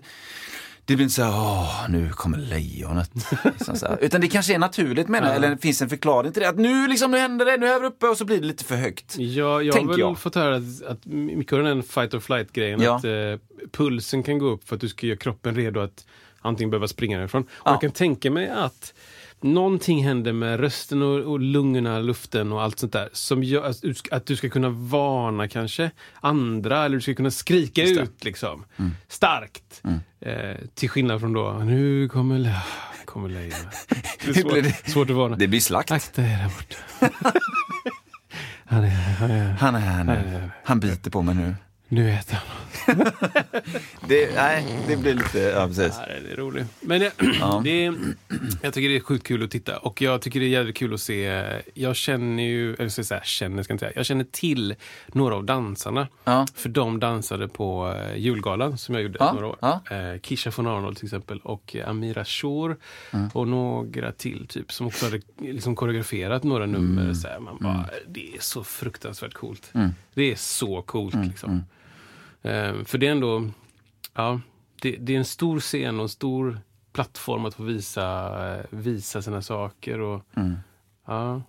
det blir inte så här, åh, nu kommer lejonet. liksom så här. Utan det kanske är naturligt menar jag. Eller det finns en förklaring till det. Att nu liksom, nu händer det, nu är vi uppe och så blir det lite för högt. Ja, jag har Tänker väl jag. fått höra att, att mycket av den här fight or flight-grejen, Ja. att eh, pulsen kan gå upp för att du ska göra kroppen redo att antingen behöva springa därifrån. Och Ja. jag kan tänka mig att någonting händer med rösten och, och lungorna, luften och allt sånt där som gör att du, ska- att du ska kunna varna kanske andra eller du ska kunna skrika Just det. Mm. ut liksom. Starkt. Eh, till skillnad från då, nu kommer, le- kommer lejonet. Det Hur är blir svårt, det? svårt att varna. Det blir slakt. Akta er där borta. han är, han är Han är här nu. Han biter på mig nu. Nu äter han. Det, nej, det blir lite... Ja, precis. Ja, det är roligt. Men jag, Ja. det är, jag tycker det är sjukt kul att titta. Och jag tycker det är jävligt kul att se. Jag känner ju, eller ska jag säga känner, ska jag inte säga. Jag känner till några av dansarna. Ja. För de dansade på eh, julgalan som jag gjorde Ja, några år. ja. Eh, Kisha von Arnold till exempel och eh, Amira Shore Mm. och några till typ som också hade eh, liksom koreograferat några Mm. nummer. Så här, man bara, Det är så fruktansvärt coolt. Mm. Det är så coolt liksom. Eh, för det är ändå, ja, det, det är en stor scen och en stor plattform att få visa, eh, visa sina saker. Och, Mm. ja.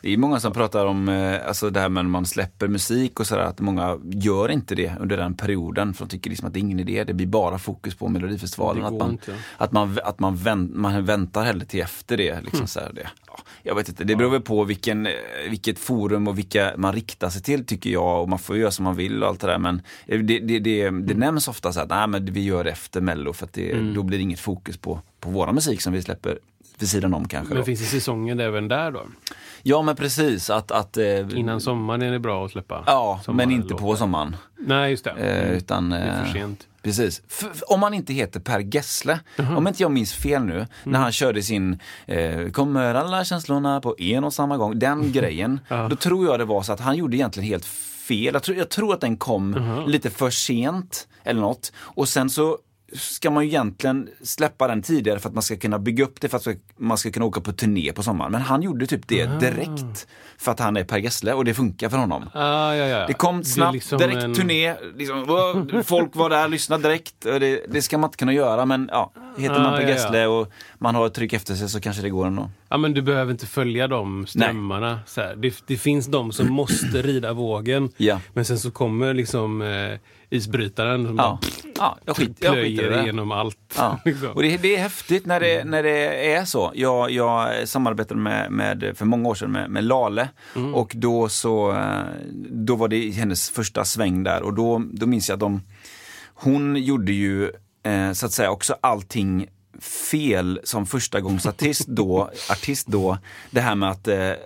Det är många som pratar om eh, alltså det här med när man släpper musik och sådär, att många gör inte det under den perioden för de tycker liksom att det är ingen idé. Det blir bara fokus på Melodifestivalen. Det går Att man, inte. att man, att man, vänt, man väntar hellre till efter det. Liksom Mm. så här, det. Ja, jag vet inte, det beror väl på vilken, eh, vilket forum och vilka man riktar sig till tycker jag och man får göra som man vill och allt det där men det, det, det, det Mm. nämns ofta så här, nej men vi gör det efter mello för att det, då blir det inget fokus på, på våran musik som vi släpper vid sidan om kanske. Men Då. finns det säsonger även där då? Ja men precis, att, att eh, Innan sommaren är det bra att släppa? Ja, men sommarlåtar. inte på sommaren. Nej, just det. Eh, utan, Mm. det är eh, för sent. Precis. F- f- om man inte heter Per Gessle, om inte jag minns fel nu, när Mm. han körde sin eh, Kommer alla känslorna på en och samma gång, den grejen. Då tror jag det var så att han gjorde egentligen helt fel. Jag tror, jag tror att den kom lite för sent eller något. Och sen så ska man ju egentligen släppa den tidigare för att man ska kunna bygga upp det för att man ska kunna åka på turné på sommaren. Men han gjorde typ det direkt för att han är Per Gessle och det funkar för honom. Ah, ja, ja. Det kom är snabbt, liksom direkt en- turné, liksom, wow, folk var där, lyssnade direkt. Och Det, det ska man inte kunna göra men ja, heter man Ah, Per ja, ja. Gessle och man har ett tryck efter sig så kanske det går ändå. Ja, men du behöver inte följa de strömmarna. Så här. Det, det finns de som måste rida vågen, Ja. men sen så kommer liksom eh, isbrytaren som Ja, bara ja jag, skit, jag skiter i plöjer det. igenom allt. Ja. liksom. Och det, det är häftigt när det, när det är så. Jag, jag samarbetade med, med, för många år sedan med, med Lale och då så, eh, då var det hennes första sväng där och då, då minns jag att de, hon gjorde ju eh, så att säga också allting fel som förstagångsartist då, artist då. Det här med att, eh, eh,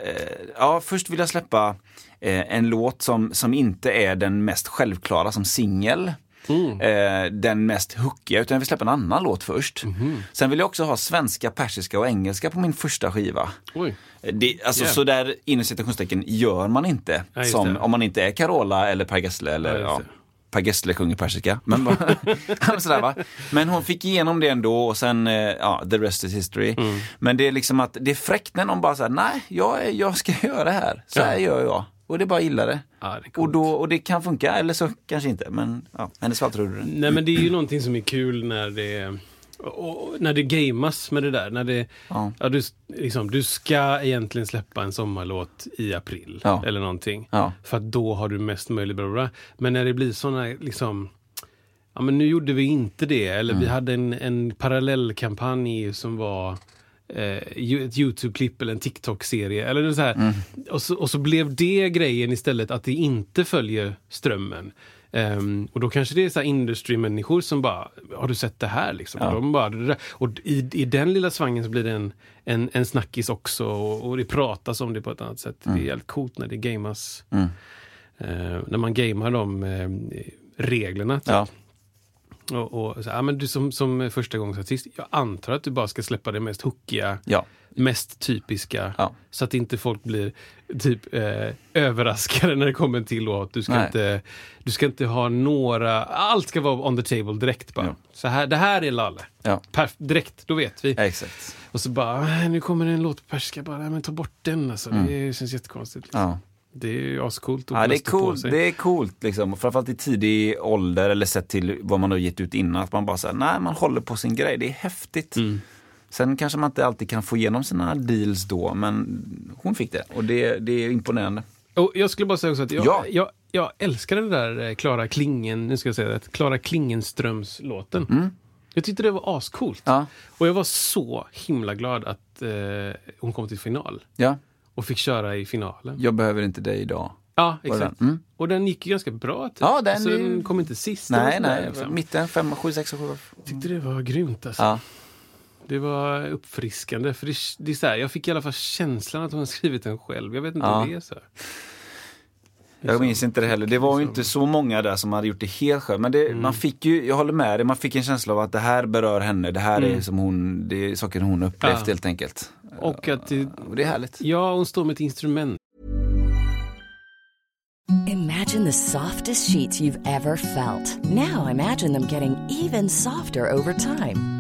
ja först vill jag släppa eh, en låt som, som inte är den mest självklara som singel. Mm. Eh, den mest hookiga, utan jag vill släppa en annan låt först. Mhm. Sen vill jag också ha svenska, persiska och engelska på min första skiva. Oj. Det, alltså Yeah. så där inom citationstecken gör man inte. Ja, just som, det. om man inte är Carola eller Per Gessle Ja, eller just ja, det. Per Gessle sjunger persiska. Men, bara- men sådär, va? men hon fick igenom det ändå och sen, eh, ja, the rest is history. Mm. Men det är liksom att det är fräckt när någon bara säger nej, jag, är- jag ska göra det här. Så här Ja. gör jag. Och det är bara gillar det. Ja, det är coolt. och, då, och det kan funka, eller så kanske inte. Men ja, hennes fall tror du det. Nej, men det är ju någonting som är kul när det och, och, när det gamas med det där. När det, Ja. ja. du, s- liksom, du ska egentligen släppa en sommarlåt i april Ja. eller någonting. Ja. För att då har du mest möjligt. Bla bla, bla. Men när det blir såna liksom Ja, men nu gjorde vi inte det. Eller vi hade en, en parallellkampanj som var eh, ju- ett YouTube-klipp eller en TikTok-serie. Eller så här. Och, så, och så blev det grejen istället att det inte följer strömmen. Ehm, och då kanske det är så här industry-människor som bara, har du sett det här? Liksom? Och, de bara, "Det där." och i, i den lilla svangen så blir det en, en, en snackis också och, och det pratas om det på ett annat sätt. Det är helt coolt när det gamas. Eh, när man gamar de eh, reglerna. Typ. Ja. Och, och, så, ja, men du som, som förstagångsartist, jag antar att du bara ska släppa det mest hookiga, Ja. mest typiska. Ja. Så att inte folk blir typ eh, överraskade när det kommer en till låt. Du ska, Nej. inte, du ska inte ha några, allt ska vara on the table direkt bara. Ja. Så här, det här är Lalle. Ja. Perf- direkt, då vet vi. Exakt. Och så bara, "Äh, nu kommer det en låt på persiska, bara, nej, men ta bort den alltså. Det känns jättekonstigt. Liksom. Mm. Ja. Det är ju ascoolt att Ja, kunna det är stå på coolt, sig. det är coolt liksom. Och Framförallt i tidig ålder eller sett till vad man har gett ut innan. Att man bara säger nej man håller på sin grej. Det är häftigt. Sen kanske man inte alltid kan få igenom sina deals då, men hon fick det. Och det, det är imponerande. Och jag skulle bara säga också att jag, Ja. jag, jag älskar den där eh, Klara Klingen, nu ska jag säga det, Klara Klingenströms-låten. Jag tyckte det var ascoolt. Mm. Ja. Och jag var så himla glad att eh, hon kom till final Ja, och fick köra i finalen. jag behöver inte dig idag. Ja, Var det exakt. den? Mm. Och den gick ju ganska bra. Typ. Ja, den alltså, är ju- den kom inte sist. eller Nej, sådär, nej, liksom. mitten, femma, sju, sex och sju. Jag tyckte det var grymt. Alltså. Ja, Det var uppfriskande. För det, det är så här, jag fick i alla fall känslan att hon har skrivit den själv. Jag vet inte Ja. om det är så. Jag minns inte det heller. Det var ju inte så många där som hade gjort det helt själv. Men det, man fick ju, jag håller med dig, man fick en känsla av att det här berör henne. Det här är som hon, det är saker hon upplevt Ja. helt enkelt. Och att det, Mm. Och det är härligt. ja, hon står med ett instrument. Imagine the softest sheets you've ever felt. Now imagine them getting even softer over time.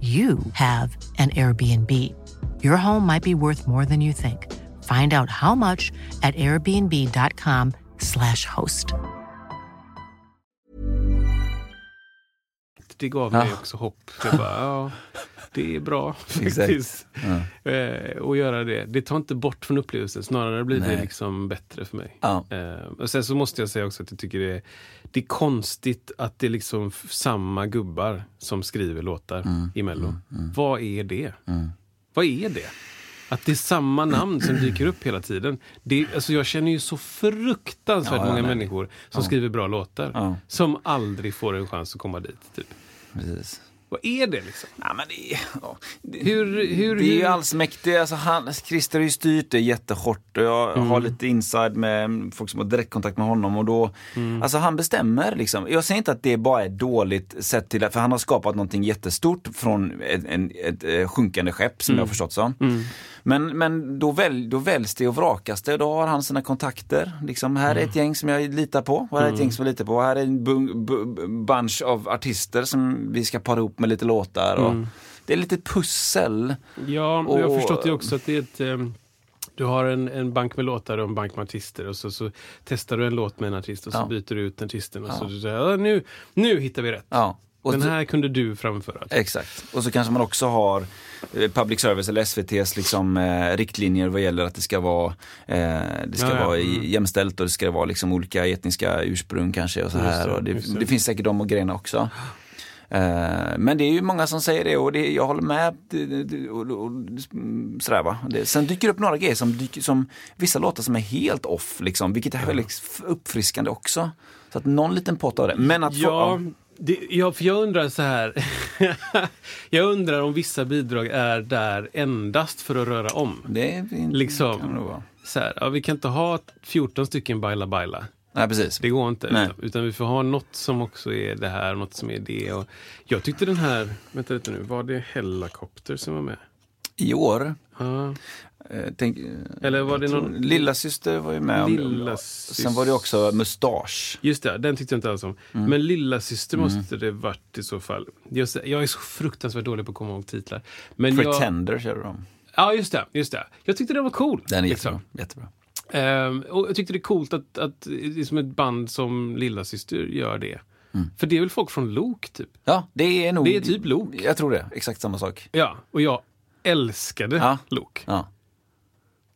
you have an Airbnb. Your home might be worth more than you think. Find out how much at airbnb.com/slash host. Det gav mig Ja. också hopp. Jag bara, ja, det är bra faktiskt. Eh, att göra det. Det tar inte bort från upplevelsen, snarare blir Nej. det liksom bättre för mig. Ja. Eh, och sen så måste jag säga också att jag tycker det är, det är konstigt att det är liksom f- samma gubbar som skriver låtar Mm. i Mello. Vad är det? Vad är det? Att det är samma namn som dyker upp hela tiden. Det, alltså jag känner ju så fruktansvärt många människor som skriver bra låtar. Ja. Som aldrig får en chans att komma dit. Typ. Precis. Vad är det liksom? Ja, men det, ja. det, Hur, hur, det är ju hur- allsmäktigt. Alltså, han, Christer har ju styrt det jättehårt och jag Mm. har lite inside med folk som har direktkontakt med honom och då, Mm. alltså han bestämmer liksom. Jag säger inte att det bara är dåligt sett till, för han har skapat någonting jättestort från ett, en, ett eh, sjunkande skepp som Mm. jag har förstått som. Men, men då, väl, då väljs det och vrakas det och då har han sina kontakter. Liksom, här Mm. är ett gäng som jag litar på och här är ett gäng som jag litar på. Här är en bung, bu, bu- bunch av artister som vi ska para ihop med lite låtar. Och, Mm. Det är lite pussel. Ja, men jag har Och- förstått det också att det är ett... ehm, Du har en, en bank med låtar och en bank med artister och så, så testar du en låt med en artist och så Ja. byter du ut artisten och så du säger ja, nu, nu hittar vi rätt. Ja. Och Eh, Den så- här kunde du framföra. Exakt. Och så kanske man också har eh, public service eller SVTs liksom, eh, riktlinjer vad gäller att det ska vara, eh, det ska Ja, ja. vara i- Mm. jämställt och det ska vara liksom olika etniska ursprung kanske och så Just här. det, och just det, det. det finns säkert de och grejerna också. Eh, Men det är ju många som säger det och det, jag håller med. Det- det- det- Och, och, och, mm, sådär, va? Det, sen dyker det upp några grejer som, dyker, som vissa låtar som är helt off, liksom, vilket är väldigt f- uppfriskande också. Så att någon liten pott av det. Men att få, Ja, det, ja, för jag undrar så här. jag undrar om vissa bidrag är där endast för att röra om. det är, Liksom. kan det nog vara. Så här, ja, vi kan inte ha 14 stycken Baila Baila. Nej precis. Det går inte. Nej. Utan, utan vi får ha något som också är det här, något som är det. Och jag tyckte den här, vänta lite nu, var det Hellacopter som var med? I år Ja. Eh, Tänk, Eller var det någon... Lilla syster var ju med. om- Lilla Sen var det också mustasch. Just det, den tyckte jag inte alls om. Mm. Men lilla syster måste det varit i så fall. Jag, sä- jag är så fruktansvärt dålig på att komma ihåg titlar. Men jag, Pretender körde de. ja, just det, just det. Jag tyckte den var cool. Den är liksom. jättebra. jättebra. Ehm, och jag tyckte det är coolt att, att liksom ett band som Lilla syster gör det. Mm. För det är väl folk från Lok, typ? Ja, det är nog... Det är typ Lok. Jag tror det. Exakt samma sak. Ja, och jag älskade Ja. Luke. Ja.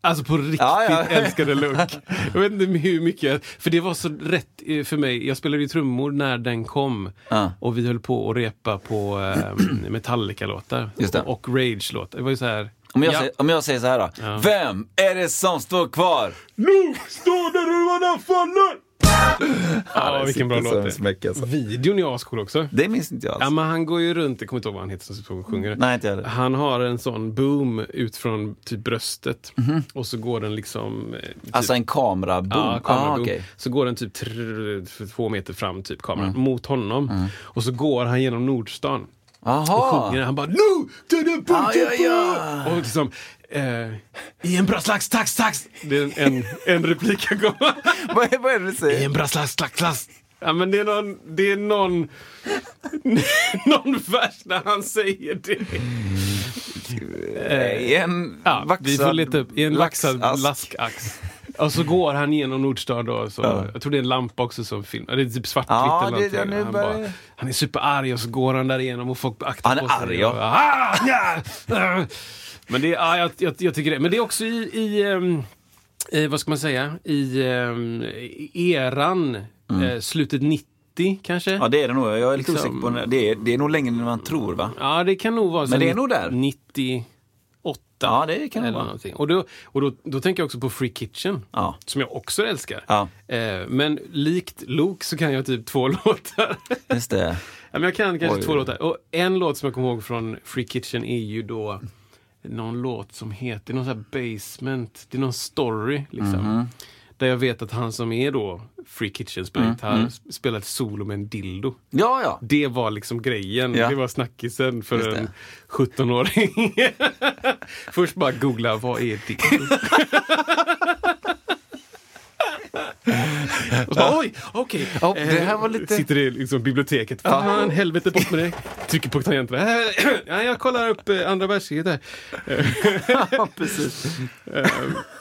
Alltså på riktigt Ja, ja. älskade Luke. Jag vet inte hur mycket, jag, för det var så rätt eh, för mig. Jag spelade ju trummor när den kom Ja. och vi höll på att repa på eh, Metallica-låtar Just det. och Rage-låtar. Det var ju så här... Om jag, ja, säger, om jag säger så här då. Vem är det som står kvar? Står där ruvarna faller! Ja, vilken bra Ah, sitter som låt en smäck, det alltså. är. Videon är ascool också. Det minns inte jag alls. Ja, men han går ju runt, jag kommer inte ihåg vad han heter som sjunger. Nej, inte jag heller. Han har en sån boom ut från typ bröstet. Mhm. Och så går den liksom... eh, Typ, Alltså en kameraboom. ja, kameraboom. Ah, okej. Så går den typ tr- två meter fram, typ kameran, Mm. mot honom. Och så går han genom Nordstan. Och Jaha. sjunger, han bara nu to the punkt Ah, ja, ja. Och liksom... Eh, I en bra slags tax tax! Det är en, en, en replik han kommer. Vad är, vad är det du I säger? en bra slags slags slags Ja, men det är någon, det är någon, någon vers när han säger det. I en Ja, vaxad vi får leta upp. I en laxad laxask. laskax. Och så går han genom Nordstan då. Så, Jag tror det är en lampa också som film. Det är typ svartvitt Ja, eller det- någonting. ja, nu han, börjar- bara, han är superarg och så går han där igenom och folk aktar Han är på sig. arg, ja. Och, "Ah, nja, äh." Men det är, ja, jag, jag, jag tycker det. Men det är också i, i, ehm, i vad ska man säga, i ehm, i eran, eh, slutet 90 kanske. Mm. Ja, det är det nog. Jag är lite Liksom- osäker på när. Det är, det är nog längre än man tror, va? Ja, det kan nog vara så. Men det är nog där. 98. Ja, det kan det eller vara. någonting. Och, då, och då, då tänker jag också på Free Kitchen. Ja. Som jag också älskar. Ja. Eh, men likt Luke så kan jag typ två låtar. Just det. ja, men jag kan kanske Oj. två låtar. Och en låt som jag kommer ihåg från Free Kitchen är ju då någon låt som heter någon sån här basement. Det är någon story liksom. Mhm. Där jag vet att han som är då Free Kitchen spelar Mm, gitarr, sp- spelar ett solo med en dildo. Ja, ja. Det var liksom grejen. Ja. Det var snackisen för Just det. en 17-åring. Först bara googla, vad är det? Och så bara, Oj, okej. Ja, det Eh, här var lite- Sitter i liksom biblioteket. Fan, helvete bort med det. Trycker på tangenterna. Ja, jag kollar upp eh, andra världskriget där. ja precis.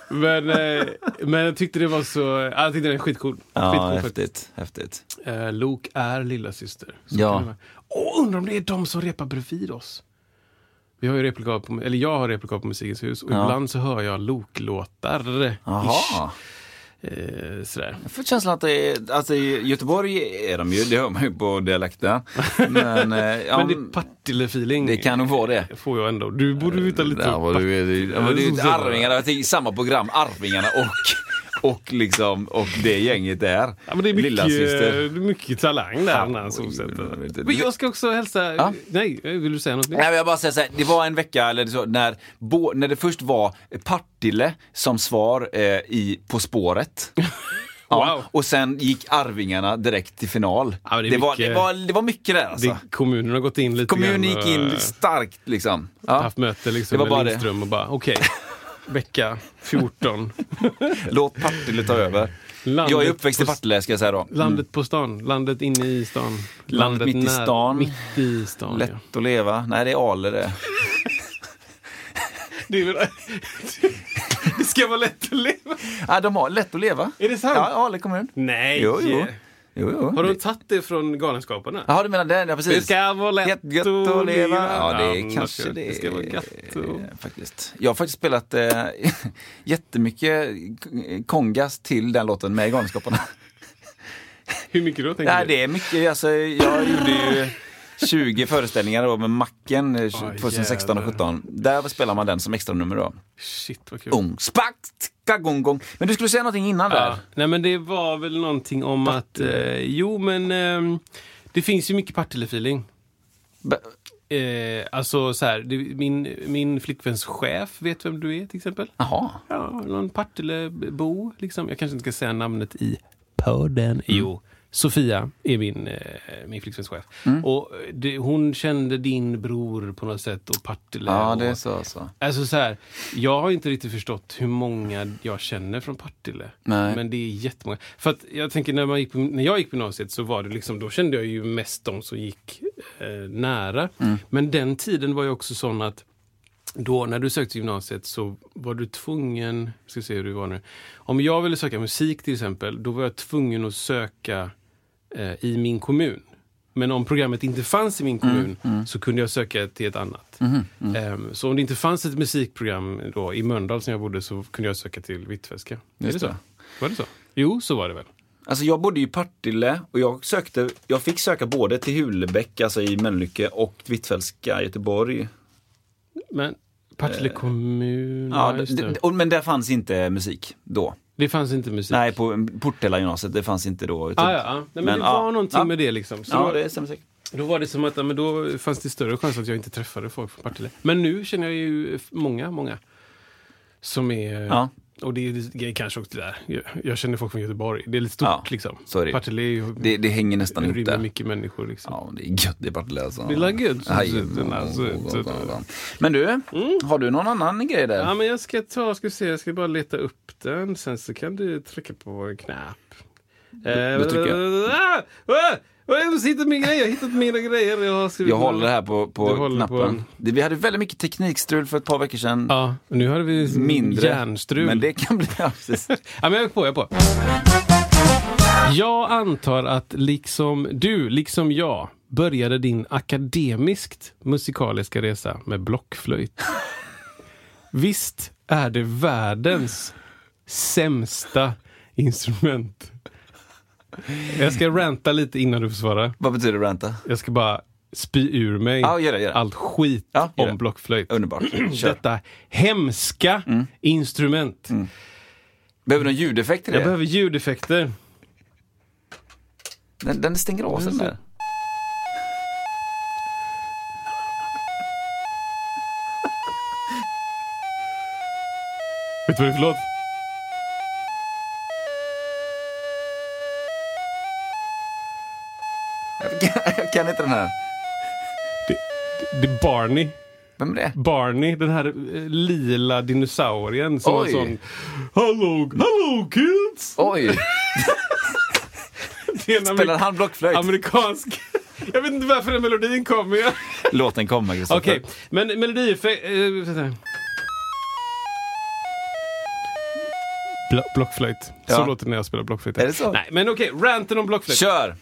Men, eh, men jag tyckte det var så... ja, Jag tyckte den är skitcool. Ja, Skitcool faktiskt. häftigt. häftigt. Eh, Luke är lilla syster. Så Ja. kan det vara. Åh, undrar om det är de som repar bredvid oss. Vi har ju replokal på, eller jag har replokal på Musikens hus och ibland så hör jag Luke-låtar. Ish. Jaha. Eh, sådär. Jag får känslan att det är, alltså i Göteborg är de ju, det hör man ju på dialekten. Men, eh, ja, Men det är Partille-feeling. Eh, det kan nog vara det. Får jag ändå. Du borde veta lite Där var du, du, ja, men det är ju inte Arvingarna, jag tänker samma program, Arvingarna och, och, liksom, och det gänget där. Ja, men det är mycket, Lillasyster. eh, mycket talang där när han jag vet inte. solsätter. Men jag ska också hälsa... Ja. Nej, vill du säga något mer? Nej, men jag bara säger så här, det var en vecka eller så, när, bo, när det först var Partille som svar eh, i På spåret. Ja, Wow. Och sen gick Arvingarna direkt till final. Ja, men det är var, mycket- det, var, det var mycket där alltså. Det, kommunen har gått in lite Kommunen grann gick och- in starkt liksom. Ja. haft möte liksom Det var bara med det. Lindström och bara okej, vecka 14. Låt Partille ta över. Landet jag är uppväxt i på- Partille ska jag säga då. Landet på stan, landet inne i stan. Landet mitt i stan. Mitt i stan, ja. Lätt att leva. Nej, det är Ale det. Det, är väl- det ska vara lätt att leva. Ja, de har lätt att leva. Är det sant? Ja, Ale kommun. Nej! Jo, jo. jo, jo. Har de tagit det från Galenskaparna? Jaha, du menar den? Ja, precis. Det ska vara lätt Jättegött att leva. Ja, det är Ja, kanske det det. ska vara gött eh, att- Faktiskt. Jag har faktiskt spelat eh, jättemycket k- kongas till den låten med Galenskaparna. Hur mycket då? Tänker Nej, du? det är mycket. Alltså, jag gjorde ju 20 föreställningar då med Macken eh, Åh, 2016 och jävlar. 2017. Där spelar man den som extra nummer då. Shit vad kul. Ung, spack, ticka, gong, gong. Men du skulle säga någonting innan Ja. där? Nej men det var väl någonting om att, eh, jo men ehm, det finns ju mycket Partille-feeling. B- Eh, alltså så här, det, min, min flickväns chef vet vem du är till exempel. Jaha. Ja, någon Partillebo. Liksom. Jag kanske inte ska säga namnet i podden. Mm. Jo, Sofia är min, eh, min flickväns chef. Mm. Och eh, det, hon kände din bror på något sätt och Partille. Ja, och, det är så. så. Alltså så här, jag har inte riktigt förstått hur många jag känner från Partille. Nej. Men det är jättemånga. För att jag tänker när, man gick på, när jag gick på gymnasiet så var det liksom, då kände jag ju mest de som gick eh, nära. Mm. Men den tiden var ju också sån att då när du sökte gymnasiet så var du tvungen, ska se hur det var nu. Om jag ville söka musik till exempel, då var jag tvungen att söka eh, i min kommun. Men om programmet inte fanns i min kommun så kunde jag söka till ett annat. Ehm, så om det inte fanns ett musikprogram då, i Mölndal som jag bodde så kunde jag söka till Hvitfeldtska. Är det Just så? det. Var det så? Jo, så var det väl. Alltså jag bodde ju i Partille och jag sökte, jag fick söka både till Hulebäck, alltså i Mölnlycke och Hvitfeldtska i Göteborg. Men Partille kommun, Ja, Eh, ja, just d- det. Typ. d- och- men där fanns inte musik då. Det fanns inte musik. Nej, på Portella gymnasiet, det fanns inte då. typ. Ah, ja, ja. Nej, men, det var någonting med det liksom. Så Ja, det stämmer säkert. Då var det som att ja, men då fanns det större chans att jag inte träffade folk från Partille. Men nu känner jag ju f- många, många. Som är... Ja. Och det är lite grejer kanske också där. Jag, jag känner folk från Göteborg. Det är lite stort Ja, liksom. så är det ju. Partille är ju, Det, det hänger nästan ihop rymmer där. mycket människor liksom. Ja, det är gött i Partille alltså. Det är la gött, så- Aj, så- oh, den här, så- oh, oh, så- oh, oh. Men du, har du någon annan grej Ja, där? men jag ska ta, ska vi se, jag ska bara leta upp den. Sen så kan du trycka på en knapp. Eh, Då trycker ah, ah, Jag sitter med grejer, jag har hittat mina grejer. Jag, har skrivit Jag håller här på, Du på håller på knappen. en- Det- Vi hade väldigt mycket teknikstrul för ett par veckor sedan. Ja, nu hade vi Mindre. Mindre, järnstrul. Men det kan bli... Ja, precis. Ja, men jag är på, jag är på. Jag antar att liksom du, liksom jag, började din akademiskt musikaliska resa med blockflöjt. Visst är det världens sämsta instrument? Jag ska ranta lite innan du får svara. Vad betyder ranta? Jag ska bara spy ur mig Ja, gör det, gör det. allt skit Ja, gör det. om blockflöjt. Underbart. Kör. Mm. Detta hemska instrument. Behöver du någon ljudeffekt i det? Jag behöver ljudeffekter. Den, den stänger av sig den där. Vet du vad det är för låt? Jag kan, jag kan inte den här. Det är Barney. Vem är det? Barney, den här eh, lila dinosaurien som Oj. var sån... Hello, hello kids! Oj! Det är en Spelar han blockflöjt? amerikansk... Jag vet inte varför den melodin kommer. jag- Låt den komma, Kristoffer. Okej, men melodieffekt... Eh, Bl- blockflöjt. Ja. Så låter det när jag spelar blockflöjt. Är det så? Nej, men okej. ranten om blockflöjt. Kör!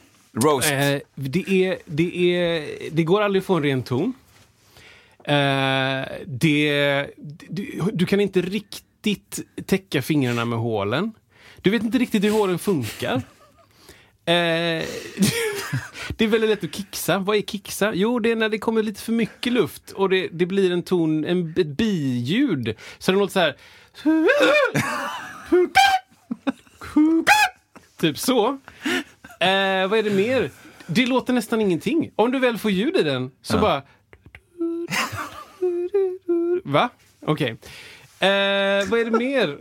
Roast. Eh, det, är, det, är, det går aldrig att få en ren ton. Eh, det, du, du kan inte riktigt täcka fingrarna med hålen. Du vet inte riktigt hur hålen funkar. Eh, det är väldigt lätt att kicksa. Vad är kicksa? Jo, det är när det kommer lite för mycket luft och det, det blir en ton, en, ett biljud. Så den låter så här... Typ så. Eh, vad är det mer? Det låter nästan ingenting. Om du väl får ljud i den så bara... Va? Okej. Eh, vad är det mer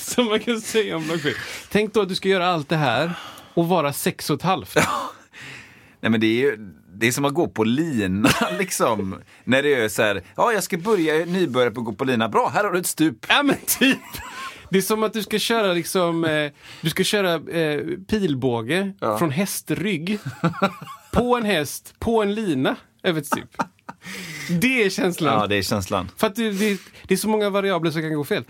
som man kan säga om blockflöjt? Tänk då att du ska göra allt det här och vara sex och ett halvt. Nej men det är ju, det är som att gå på lina liksom. När det är så här, ja jag ska börja, jag är nybörjare på att gå på lina. Bra, här har du ett stup. Ja men typ. Det är som att du ska köra liksom, eh, du ska köra eh, pilbåge från hästrygg på en häst, på en lina över ett stup. Det är känslan. Ja, det är känslan. För att det, det, det är så många variabler som kan gå fel.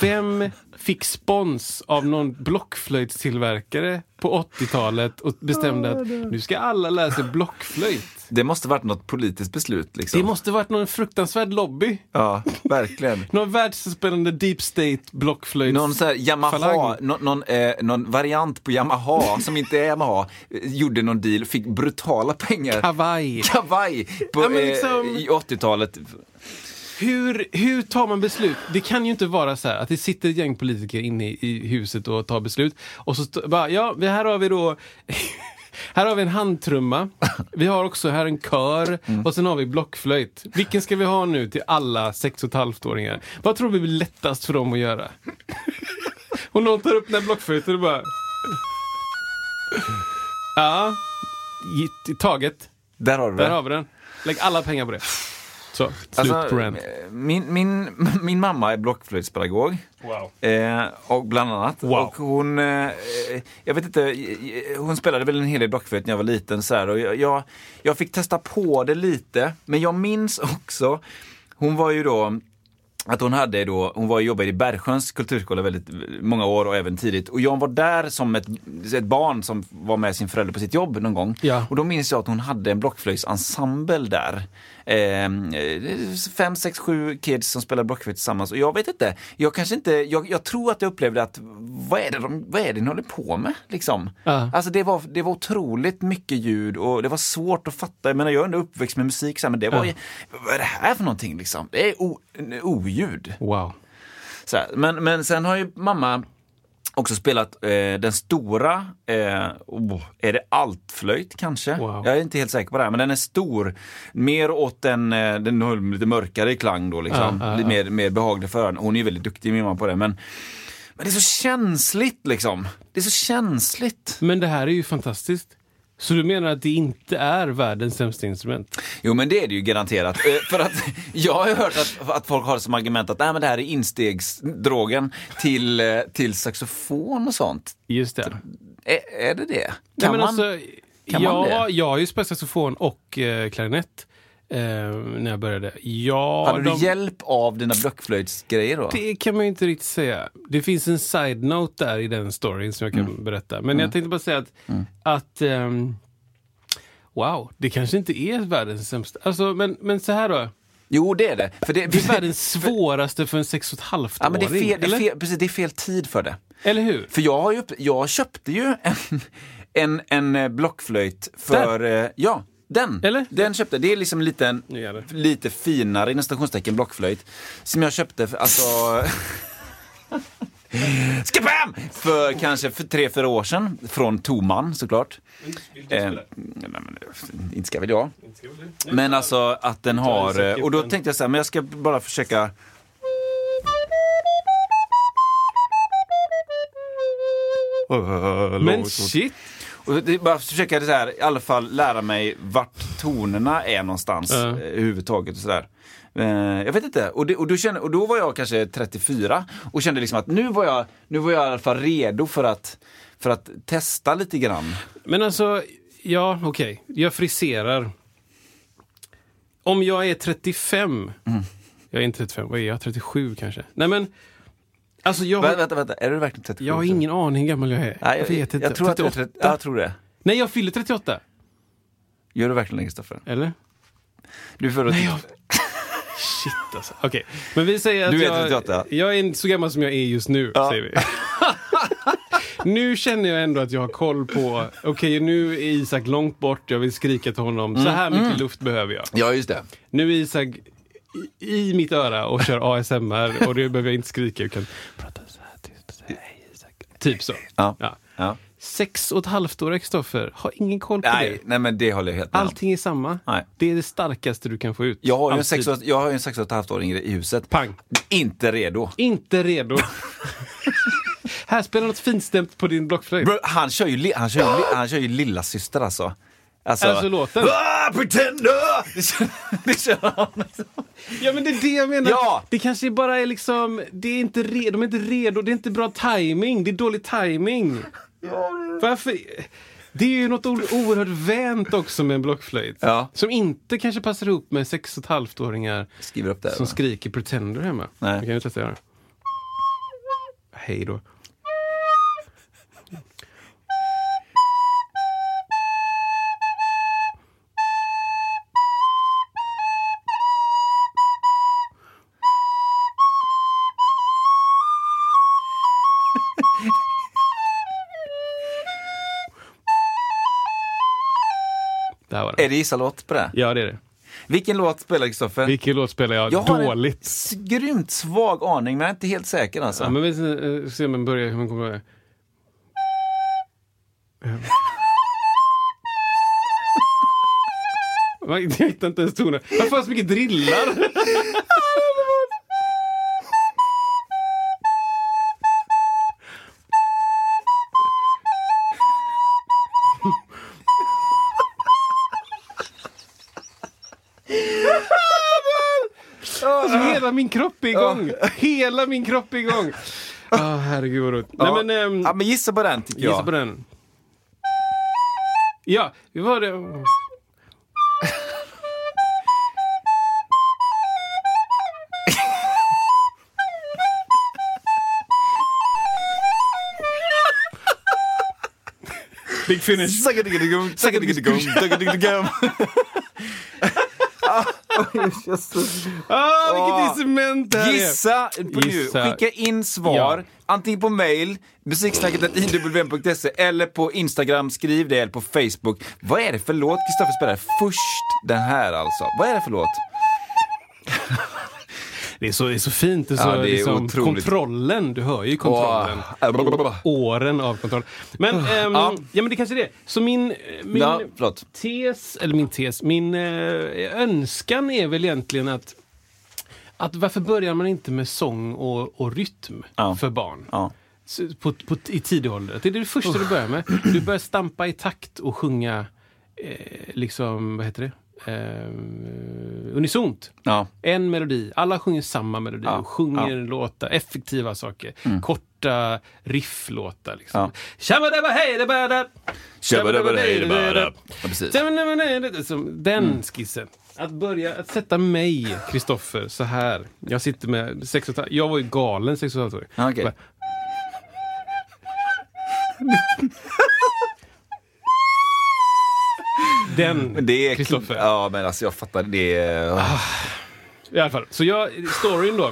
Vem fick spons av någon blockflöjtstillverkare på 80-talet och bestämde att nu ska alla lära sig blockflöjt? Det måste varit något politiskt beslut liksom. Det måste varit någon fruktansvärd lobby. Ja, verkligen. Någon världsomspännande deep state blockflöjt. Någon så här Yamaha, Falang. någon, någon, eh, någon variant på Yamaha som inte är Yamaha, eh, gjorde någon deal, fick brutala pengar. Kavaj. Kavaj! På, Ja, men eh, liksom- I 80-talet. Hur, hur tar man beslut? Det kan ju inte vara så här att det sitter ett gäng politiker inne i, i huset och tar beslut. Och så stå- bara, ja, vi- här har vi då... Här har vi en handtrumma. Vi har också här en kör. Och sen har vi blockflöjt. Vilken ska vi ha nu till alla sex och ett halvt-åringar? Vad tror vi blir lättast för dem att göra? Och någon tar upp den här blockflöjten och bara... Ja, i- i taget. Där har du Där det. har vi den. Lägg alla pengar på det. Så, slut på rant. eh, min, min, min mamma är blockflöjtspedagog. Eh, och bland annat. Wow. Och hon, eh, jag vet inte, eh, hon spelade väl en hel del blockflöjt när jag var liten. Så här, och jag, jag, jag fick testa på det lite, men jag minns också, hon var ju då att hon hade då, hon var och jobbade i Bergsjöns kulturskola väldigt många år och även tidigt. Och jag var där som ett, ett barn som var med sin förälder på sitt jobb någon gång. Ja. Och då minns jag att hon hade en blockflöjtsensemble där. Ehm, Eh, fem, sex, sju kids som spelade blockflöjt tillsammans. Och jag vet inte, jag kanske inte, jag, jag tror att jag upplevde att vad är det, de, vad är det ni håller på med? Liksom. Ja. Alltså det var, det var otroligt mycket ljud och det var svårt att fatta. Jag menar jag är ändå uppväxt med musik så här, men det var ju, vad är det här för någonting liksom? Det är o, oljud. Wow. Så här. Men, men sen har ju mamma också spelat eh, den stora, eh, oh, är det altflöjt kanske? Wow. Jag är inte helt säker på det här, men den är stor. Mer åt den, eh, den har lite mörkare klang då liksom. Ja, ja, ja. Lite Mer, mer behaglig för öronen. Hon är ju väldigt duktig min mamma på det. Men, men det är så känsligt liksom. Det är så känsligt. Men det här är ju fantastiskt. Så du menar att det inte är världens sämsta instrument? Jo men det är det ju garanterat. Eh, För att jag har ju hört att, att folk har som argument att Nej, men det här är instegsdrogen till, eh, till saxofon och sånt. Just det. Är, är det det? Nej, Kan men man? alltså, kan ja, man det? Jag har ju spelat saxofon och eh, klarinett eh, när jag började. Ja, Hade de- du hjälp av dina blockflöjtsgrejer då? Det kan man ju inte riktigt säga. Det finns en side-note där i den storyn som jag kan Mm. berätta. Men jag tänkte bara säga att, att ehm, wow, det kanske inte är världens sämsta. Alltså, men, men så här då. Jo, det är det. För det, Det är världens svåraste för en sex och ett halvt ja, men det, är åring, fel, det, är eller? fel, precis, det är fel tid för det. eller hur? För jag, har ju, upp- jag köpte ju en, en, en eh, blockflöjt för... eh, Ja, den. Eller? Den köpte Det är liksom lite, en, Nu är det. lite finare, inom stationstecken, blockflöjt. Som jag köpte, för, alltså... Skabam! För kanske för tre, fyra år sedan. Från Toman såklart. Eh, nej, men, eh, inte ska väl jag. Men alltså att den har... eh, Och då tänkte jag så här, men jag ska bara försöka... Men shit! Och det, bara försöka så här, i alla fall lära mig vart tonerna är någonstans Ja. eh, överhuvudtaget. och sådär. Eh, jag vet inte. Och, det, och, då kände, och då var jag kanske 34 och kände liksom att nu var jag, nu var jag i alla fall redo för att, för att testa lite grann. Men alltså, ja okej, jag friserar. Om jag är 35, jag är inte 35, vad är jag? 37 kanske? Nej men, alltså jag Vä, har vänta, vänta, är du verkligen 37? Jag har ingen aning hur gammal jag är. Nej, jag jag, vet inte. jag tror att du är 38. 30, jag tror det. Nej, jag fyller 38. Gör du verkligen det Kristoffer? Eller? Du är född Nej, jag... Shit alltså. Okej, men vi säger att Du är jag, 38. jag är inte så gammal som jag är just nu, Ja. säger vi. nu känner jag ändå att jag har koll på, okej nu är Isak långt bort, jag vill skrika till honom, så Mm. här mycket luft behöver jag. Ja, just det. Nu är Isak i, i mitt öra och kör ASMR och det behöver jag inte skrika, jag kan prata så här tyst och säga hej Isak. Typ så. Ja. Ja. Ja. Sex och ett halvt år, Kristoffer, har ingen koll på det. Nej, nej, men det håller jag helt med om. Allting är samma. Nej. Det är det starkaste du kan få ut. Jag har ju en Alltid. sex och- jag har ju en sex och ett halvt åring i huset. Pang. Inte redo. Inte redo. Här spelar något finstämt på din blockflöjt. Bro, han kör ju, li- han kör ju, li- han kör ju lilla syster alltså. Alltså, Alltså låten. Ah, pretender! Det kör, det kör han. Ja men det är det jag menar. Ja! Det kanske bara är liksom, det är inte redo, de är inte redo, det är inte bra timing. det är dålig timing. Varför? Det är ju något o- oerhört vänt också med en blockflöjt. Ja. Som inte kanske passar ihop med sex och ett halvt åringar Skriver upp det här, som va? skriker pretender hemma. Nej. Jag kan ju testa att göra. Hej då. Där var Är den. det gissa-låt på det? Ja, det är det. Vilken låt spelar Kristoffer? Vilken låt spelar jag, jag har en dåligt? s- grymt svag aning, men jag är inte helt säker alltså. Ja, men vi eh, ser om den börjar, hur man kommer ihåg det. Eh. Vad- Jag hittar inte ens tonen. Varför har jag så mycket drillar? Alltså, hela min kropp är igång! Hela min kropp är igång! Ah, herregud vad roligt. Ja. Nej, men, ehm, ja, men gissa på den tycker jag. Gissa på den. Ja, vi var det. Ah, Big finish. Sagadigadigum, sagadigadigum, sagadigadigum. Ah, Ah. vilket incitament det här är! Gissa på Gissa. nu. Skicka in svar. Ja. Antingen på mail, musiksnacket.iwm.se e, eller på Instagram, skriv det, eller på Facebook. Vad är det för låt Kristoffer spelar först? Den här alltså. Vad är det för låt? Det är så, det är så fint. Det är så, Ja, det är liksom, otroligt. kontrollen, du hör ju kontrollen. Åh, äh, blablabla. Åren av kontroll. Men, ehm, ja. Ah, Ja. men det kanske är det. Så min, eh, min Ja, förlåt. tes, eller min tes, min eh, önskan är väl egentligen att, att varför börjar man inte med sång och, och rytm Ja. för barn? Ja. Så På, på, I tidig ålder. Det är det första du börjar med. Du börjar stampa i takt och sjunga, eh, liksom, vad heter det? eh, unisont. Ja. En melodi. Alla sjunger samma melodi Ja, Mm. och sjunger låtar, effektiva saker. Korta rifflåtar. Liksom. Ja. Ja. Ja, precis. Mm. Som Den skissen. Att börja, att sätta mig, Kristoffer, så här. Jag sitter med sex och ett halvt- Jag var ju galen sex och ett halvt år. Ja, okej. Bara- Den, Det är Kristoffer. Ah. Ja, men alltså jag fattar det. är- I alla fall. Så jag, storyn då.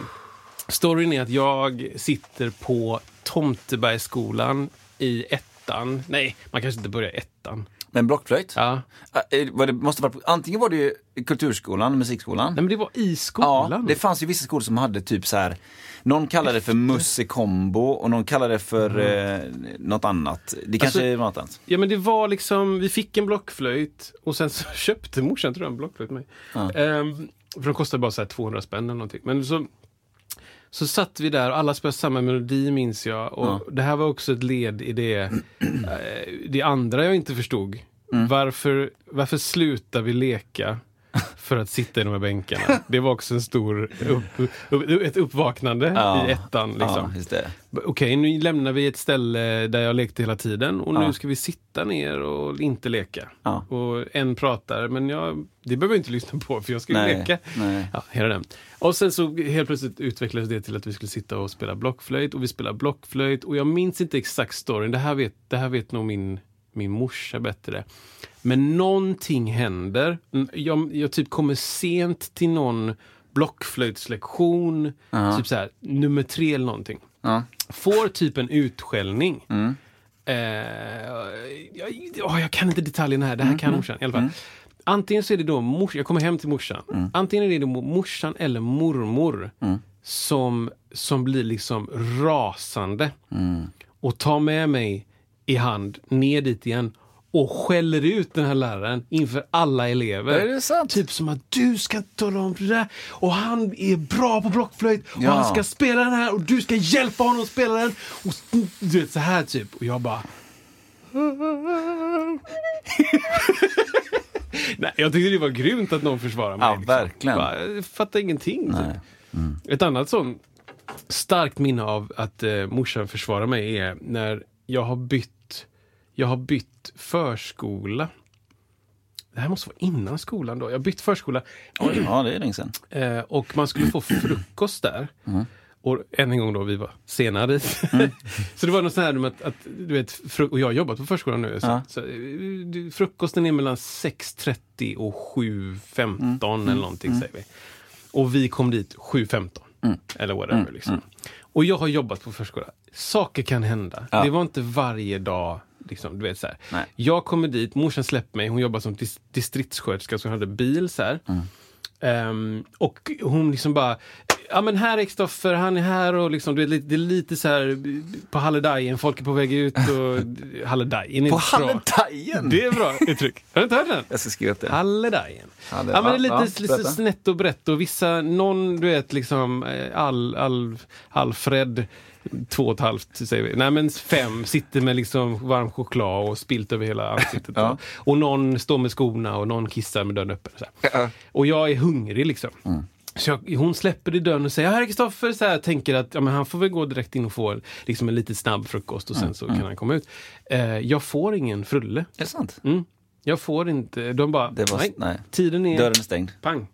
Storyn är att jag sitter på Tomtebergsskolan i ettan. Nej, man kanske inte börjar i ettan. Men blockflöjt? Ja. Eh, Var det, måste vara, antingen var det ju kulturskolan, musikskolan. Nej, men det var i skolan. Ja, det fanns ju vissa skolor som hade typ så här. Någon kallade det för mussikombo och någon kallade det för eh, något annat. Det kanske Alltså- är något annat. Ja men det var liksom, vi fick en blockflöjt och sen så köpte morsan tror jag en blockflöjt till mig. Ehm, för de kostade bara så här 200 spänn eller någonting. Men så, så satt vi där och alla spelade samma melodi minns jag. Och det här var också ett led i det, eh, det andra jag inte förstod. Mm. Varför, varför slutar vi leka? För att sitta i de här bänkarna. Det var också en stor upp, upp, ett uppvaknande Ja. i ettan. Liksom. Ja, just det. B- Okej, nu lämnar vi ett ställe där jag lekte hela tiden och nu ska vi sitta ner och inte leka. Ja. Och en pratar, men jag, det behöver jag inte lyssna på för jag ska ju Nej, leka. nej. Ja, hela den. Och sen så helt plötsligt utvecklades det till att vi skulle sitta och spela blockflöjt och vi spelade blockflöjt och jag minns inte exakt storyn. Det här vet, det här vet nog min, min morsa bättre. Men någonting händer. Mm, Jag, jag typ kommer sent till någon blockflöjtslektion, typ så här, nummer tre eller någonting får typ en utskällning. Eh, jag, åh, jag kan inte detaljerna här, det Mm, här kan morsan i alla fall. Antingen så är det då morsan, jag kommer hem till morsan. Mm. Antingen är det då mo- morsan eller mormor som, som blir liksom rasande. Mm. Och tar med mig i hand ner dit igen och skäller ut den här läraren inför alla elever. Är det sant? Typ som att du ska inte tala om det där och han är bra på blockflöjt och Ja. han ska spela den här och du ska hjälpa honom att spela den. Och s- du vet så här typ. Och jag bara... Nej, jag tyckte det var grymt att någon försvarade mig. liksom. Ja, verkligen. Mm. Bara, jag fattar ingenting. Typ. Ett annat sånt starkt minne av att eh, morsan försvarar mig är när jag har bytt, jag har bytt förskola. Det här måste vara innan skolan då. Jag har bytt förskola. Oj, ja, det är länge sedan. Eh, och man skulle få frukost där. Och än en gång då, vi var sena dit. så det var något sånt här med att, att du vet, fru- och jag har jobbat på förskolan nu. Så, så, eh, du- frukosten är mellan 6.30 och 7.15 eller någonting säger vi. Och vi kom dit 7.15. Eller whatever liksom. Och jag har jobbat på förskola. Saker kan hända. Det var inte varje dag Liksom, du vet, så här. Nej. Jag kommer dit, morsan släpper mig, hon jobbar som dis- distriktssköterska så hon hade bil. Så här. Ehm, och hon liksom bara, ja men här är Kristoffer, han är här och liksom, det är lite, det är lite så här på halledajen, folk är på väg ut och halledajen är På bra. Hallendajen! Det är bra uttryck. Har du inte hört den? Jag ska skriva upp det. Halledajen. Ja, Halle- men det är lite, ja, lite berätta. snett och brett och vissa, någon du vet liksom eh, all, all, Alfred två och ett halvt, säger vi. Nej men fem, sitter med liksom varm choklad och spilt över hela ansiktet. Ja. och, och någon står med skorna och någon kissar med dörren öppen. Så här. Och jag är hungrig liksom. Så jag, hon släpper i dörren och säger "Ja, här är Kristoffer, så här, tänker att ja, men han får väl gå direkt in och få liksom, en lite snabb frukost och sen så kan han komma ut. Eh, jag får ingen frulle. Är det sant? Mm. Jag får inte. De bara, Det var- nej, nej. tiden är... Dörren är stängd. Pang.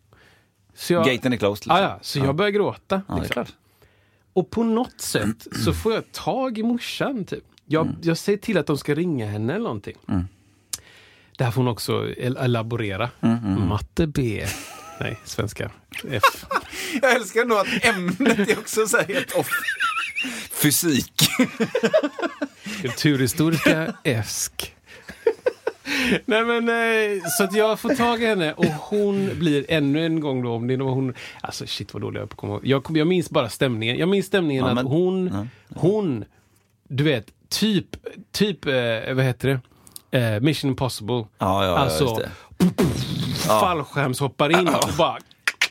Så jag, Gaten är closed. ah, liksom. ja, så jag börjar gråta. Ja, det är liksom. klart. Och på något sätt så får jag tag i morsan. Typ. Jag, Mm. jag säger till att de ska ringa henne eller någonting. Det här får hon också el- elaborera. Mm, Matte B. Nej, svenska. F. Jag älskar nog att ämnet är också så här helt off. Fysik. Kulturhistoriska Esk. Nej men, eh, så att jag får tag i henne och hon blir ännu en gång då, om det var hon... Alltså shit vad dålig jag är på att komma ihåg. jag, kom- jag minns bara stämningen. Jag minns stämningen Ja, men- att hon, hon, du vet, typ, typ, eh, vad heter det? Eh, Mission Impossible. Ja, ja, alltså, ja, just det. fallskärmshoppar in och bara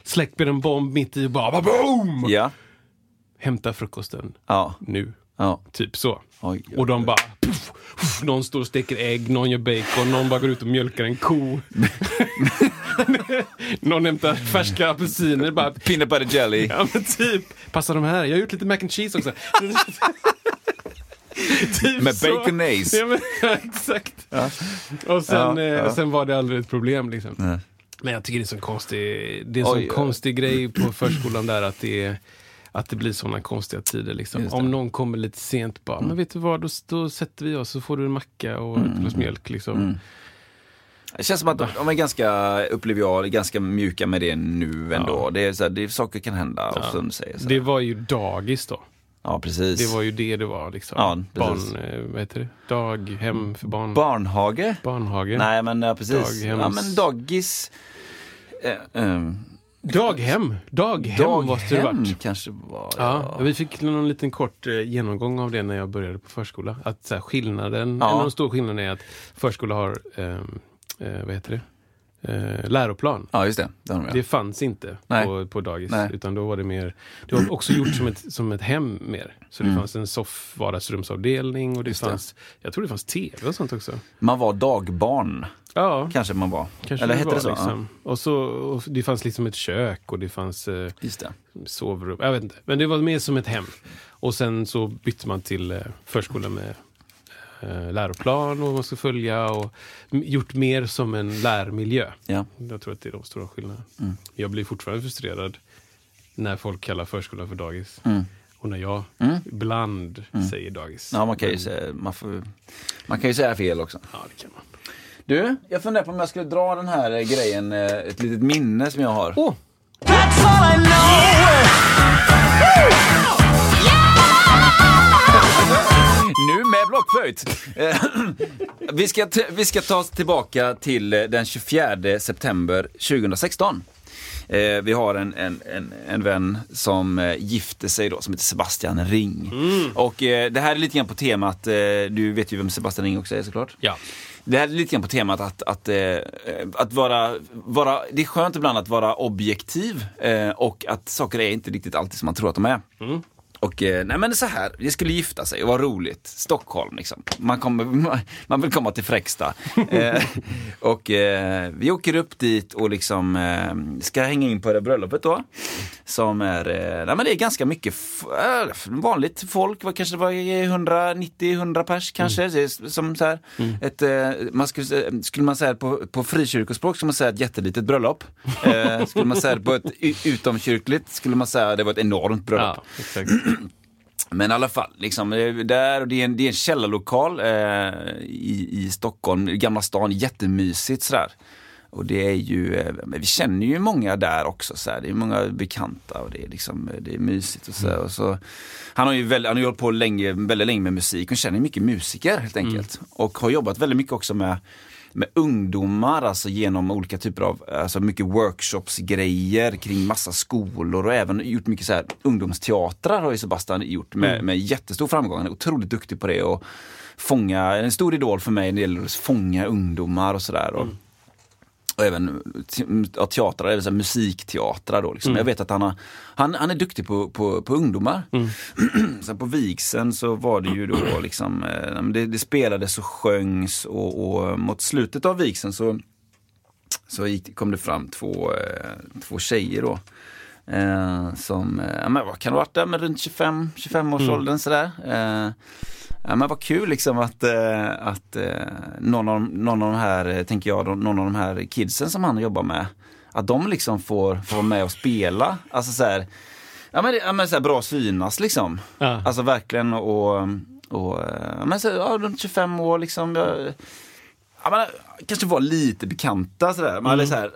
släpper en bomb mitt i och bara boom! Ja, Hämta frukosten ja. nu. Ja. Typ så. Oj, oj, och de oj. bara... Puff, puff, någon står och steker ägg, någon gör bacon, någon bara går ut och mjölkar en ko. någon hämtar färska apelsiner. Bara, Peanut butter jelly. ja men typ, passar de här? Jag har gjort lite mac and cheese också. typ Med så. bacon ace. Ja, men, exakt. Och sen, Ja, eh, ja. sen var det aldrig ett problem liksom. Nej. Men jag tycker det är en sån konstig, det är en Oj, sån ja. konstig grej på förskolan där att det är att det blir såna konstiga tider. Liksom. Just det. Mm. Om någon kommer lite sent bara, men vet du vad, då, då sätter vi oss så får du en macka och ett glas mjölk. Liksom. Mm. Det känns som att de de är ganska, upplever jag, ganska mjuka med det nu ändå. Det är så här, det är, saker kan hända och som du säger. Så här. Det var ju dagis då. ja, precis. Det var ju det det var. Liksom. Ja, precis. Barn, eh, vad heter det? Daghem för barn. Barnhage? Barnhage. Nej, men ja, precis. Daghems- Ja, men daggis. Eh, eh, Daghem! Daghem måste det daghem varit. kanske var Ja, vi fick någon liten kort eh, genomgång av det när jag började på förskola. Att så här, skillnaden, Ja. en av de stora skillnaderna är att förskola har, ehm, eh, vad heter det, eh, läroplan. Ja, just det. Det har de, ja. Det fanns inte Nej. på, på dagis, Nej. utan då var det mer, det var också gjort som ett, som ett hem mer. Så Mm. det fanns en soff vardagsrumsavdelning och det fanns, jag tror det fanns tv och sånt också. Man var dagbarn, Ja, kanske man var. kanske Eller det hette var det så? Liksom. Och så, och det fanns liksom ett kök och det fanns eh, Ja, just det. sovrum. Jag vet inte. Men det var mer som ett hem. Och sen så bytte man till eh, förskola med eh, läroplan och man ska följa och m- gjort mer som en lärmiljö. Ja. Mm. Jag tror att det är de stora skillnaderna. Jag blir fortfarande frustrerad när folk kallar förskolan för dagis. Och när jag ibland säger dagis. Mm. Ja, man kan ju säga, man får, man kan ju säga fel också. Ja, det kan man. Du, jag funderar på om jag skulle dra den här eh, grejen, eh, ett litet minne som jag har. Åh! Nu med blockflöjt! Eh, vi, ska t- vi ska ta oss tillbaka till eh, den 24 september 2016. Eh, vi har en, en, en, en vän som eh, gifte sig då, som heter Sebastian Ring. Och eh, det här är lite grann på temat, eh, du vet ju vem Sebastian Ring också är såklart. Ja. Det här är lite grann på temat att, att, eh, att vara, vara, det är skönt ibland att vara objektiv eh, och att saker är inte riktigt alltid som man tror att de är. Och eh, nej men så här, det skulle gifta sig, vad roligt. Stockholm liksom. Man, kommer, man vill komma till Fräksta. eh, och eh, vi åker upp dit och liksom eh, ska hänga in på det bröllopet då. Som är, eh, nej men det är ganska mycket f- eh, vanligt folk, vad kanske det var 190-100 pers kanske. Det är Som så här, ett, eh, man skulle, sä- skulle man säga på, på frikyrkospråk skulle man säga ett jättelitet bröllop. Eh, skulle man säga det på ett u- utomkyrkligt skulle man säga det var ett enormt bröllop. ja, exakt. Men i alla fall, liksom, eh, där, och det, är en, det är en källarlokal eh, i, i Stockholm, i Gamla stan, jättemysigt sådär. Och det är ju, eh, men vi känner ju många där också, såhär. det är många bekanta och det är, liksom, eh, det är mysigt. Och så, och så, han har ju väl, han har ju hållit på länge, väldigt länge med musik och känner mycket musiker helt enkelt. Och har jobbat väldigt mycket också med med ungdomar, alltså genom olika typer av, alltså mycket workshopsgrejer kring massa skolor och även gjort mycket så här ungdomsteatrar har ju Sebastian gjort med, med jättestor framgång. Han är otroligt duktig på det och fånga, en stor idol för mig när det gäller att fånga ungdomar och sådär. Och- och även te- ja, teatrar, även så här musikteatrar. Då, liksom. Jag vet att han, har, han, han är duktig på, på, på ungdomar. Sen på vigseln så var det ju då liksom, eh, men det, det spelades och sjöngs och, och mot slutet av vigseln så, så gick, kom det fram två, eh, två tjejer då. Eh, som, eh, ja, men vad kan det ha varit där, men runt 25, 25 års åldern sådär. Eh, ja, men vad kul liksom att, eh, att eh, någon, av, någon av de här, eh, tänker jag, de- någon av de här kidsen som han jobbar med, att de liksom får, får vara med och spela. Alltså såhär, ja men, det- ja, men såhär bra synas liksom. Ja. Alltså verkligen och, och eh, ja, men så, ja, runt 25 år liksom. Jag, ja, men, kanske var lite bekanta sådär. Man eller såhär,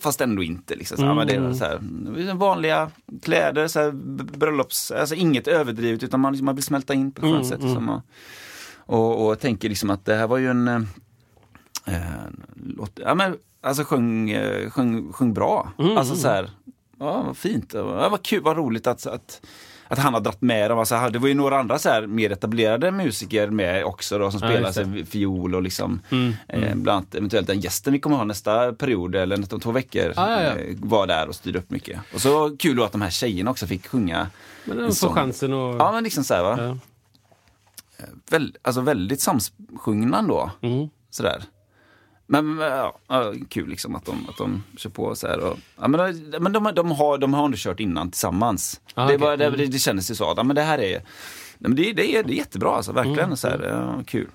fast ändå inte. Liksom. Så, ja, men det är såhär, vanliga kläder, såhär, b- bröllops, alltså inget överdrivet utan man, man vill smälta in på ett skönt sätt. Liksom. Och, och, och tänker liksom att det här var ju en eh, eh, låt, ja, men, alltså sjöng, eh, sjöng, sjöng bra. Mm, alltså så här, ja, vad fint, ja, vad kul, vad roligt att, att att han har dratt med dem. Alltså, han- det var ju några andra så här, mer etablerade musiker med också då, som Ja, spelade just det. Mm, sig fiol och liksom Eh, bland annat eventuellt den gästen vi kommer ha nästa period eller nästa två veckor Ah, ja, ja. eh, var där och styrde upp mycket. Och så kul då att de här tjejerna också fick sjunga. Men en de får sång. chansen att... Ja men liksom så här va. Ja. väl, alltså väldigt samsjungna ändå. Sådär. Men men, ja, ja, kul liksom att de, att de kör på så här. Och, ja, men de, men de, de, har, de har ändå kört innan tillsammans. Ah, det, är okej. bara, det, det, det kändes ju så. att, Ja, men det här är, nej, men det, det, är, det är jättebra alltså, verkligen. Mm. Så här, ja, kul.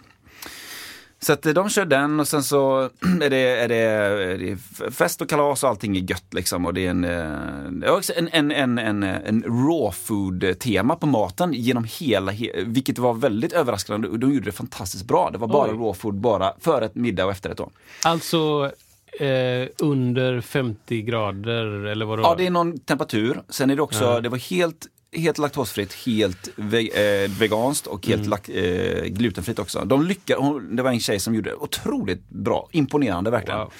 Så att eh, de kör den och sen så är det, är det, är det f- fest och kalas och allting är gött liksom. Och det är en, eh, ja, också en, en, en, en, en raw food tema på maten genom hela, he- vilket var väldigt överraskande. Och de gjorde det fantastiskt bra. Det var bara Oj. raw food, bara förrätt, middag och efterrätt då. Alltså eh, under 50 grader eller vad det Ja, var? det är någon temperatur. Sen är det också, det var helt, helt laktosfritt, helt ve- eh, veganskt och helt lak- eh, glutenfritt också. De lyckades, hon, det var en tjej som gjorde det otroligt bra, imponerande verkligen. Wow.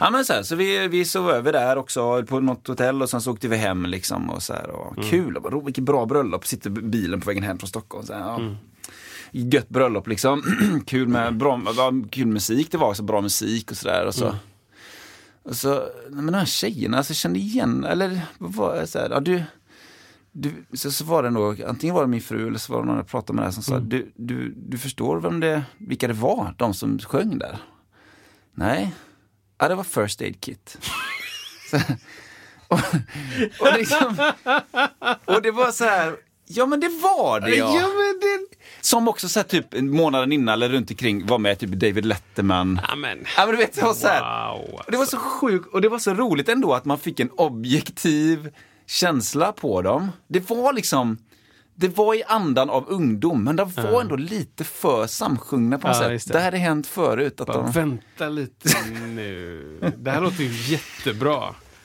Ja, men så här, så vi, vi sov över där också på något hotell och sen så åkte vi hem liksom och så här, och kul, och bara, "Oh, vilket bra bröllop, sitter i bilen på vägen hem från Stockholm. Så här, ja. Gött bröllop liksom, kul med bra, ja, kul musik det var, så bra musik och sådär. Och så. Och så, nej, men de här tjejerna, alltså jag kände igen, eller vad var det, så här, ja, du, du, så, så var det nog, antingen var det min fru eller så var det någon jag pratade med där som sa, du, du, du förstår vem det, vilka det var, de som sjöng där? Nej, ja, det var First Aid Kit. så, och, och, liksom, och det var så här, ja men det var det Ja, men det... Som också så här, typ månaden innan eller runt omkring var med typ David Letterman. Amen. Ja men du vet, det var så här, Wow. och alltså. Det var så sjukt och det var så roligt ändå att man fick en objektiv känsla på dem. Det var liksom, det var i andan av ungdom men de var ändå lite för samsjungna på något Ja, sätt. just Det. det. hade hänt förut. Att Bara, de... Vänta lite nu. Det här låter ju jättebra.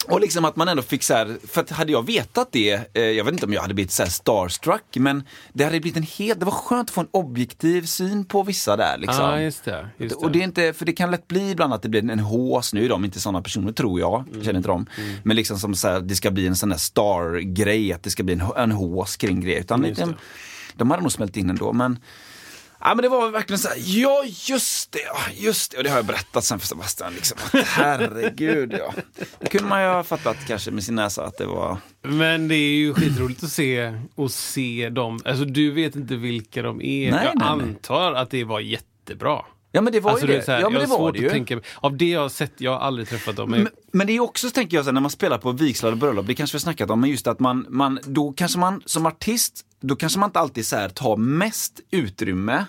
Och liksom att man ändå fick så här, för att hade jag vetat det, eh, jag vet inte om jag hade blivit så här starstruck, men det hade blivit en helt, det var skönt att få en objektiv syn på vissa där liksom. Ja, just det. Just Och det är inte, för det kan lätt bli ibland att det blir en hås, nu är de inte sådana personer tror jag, Mm. jag känner inte dem. Men liksom som så här, det ska bli en sån där star-grej, att det ska bli en, en hås kring grejer. Utan Just lite, de hade nog smält in ändå men Ja men det var verkligen så här, ja just det, ja, just det. Och det har jag berättat sen för Sebastian liksom. Att, herregud ja. Det kunde man ju ha fattat kanske med sin näsa att det var Men det är ju skitroligt att se, och se dem. Alltså du vet inte vilka de är. Nej, jag nej, nej. antar att det var jättebra. Ja men det var alltså, ju det är det. så här, ja, men jag det har var svårt det att ju. tänka Av det jag har sett, jag har aldrig träffat dem. Men, Men, men det är också, tänker jag, så här, när man spelar på vigslade bröllop, det kanske vi har snackat om, men just att man, man, då kanske man som artist, då kanske man inte alltid så här, tar mest utrymme.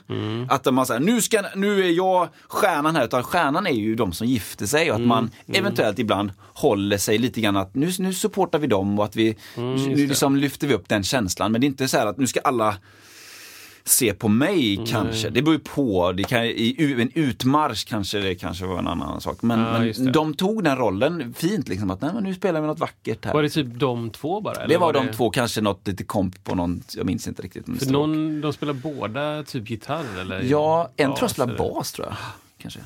Att man säger, nu, ska- nu är jag stjärnan här, utan stjärnan är ju de som gifter sig och att man eventuellt ibland håller sig lite grann att nu, nu supportar vi dem och att vi, nu liksom lyfter vi upp den känslan. Men det är inte så här att nu ska alla se på mig Mm. kanske. Det beror ju på. Det kan, I u- en utmarsch kanske det kanske var en annan sak. Men, Ja, just men det. de tog den rollen fint. Liksom, att nej, men nu spelar vi något vackert här. Var det det typ de två bara? eller var, de två, kanske något lite komp på någon, jag minns inte riktigt. men För stråk. någon, de spelar båda typ gitarr eller? ja, en tror jag bas, spelar eller- bas tror jag. Kanske.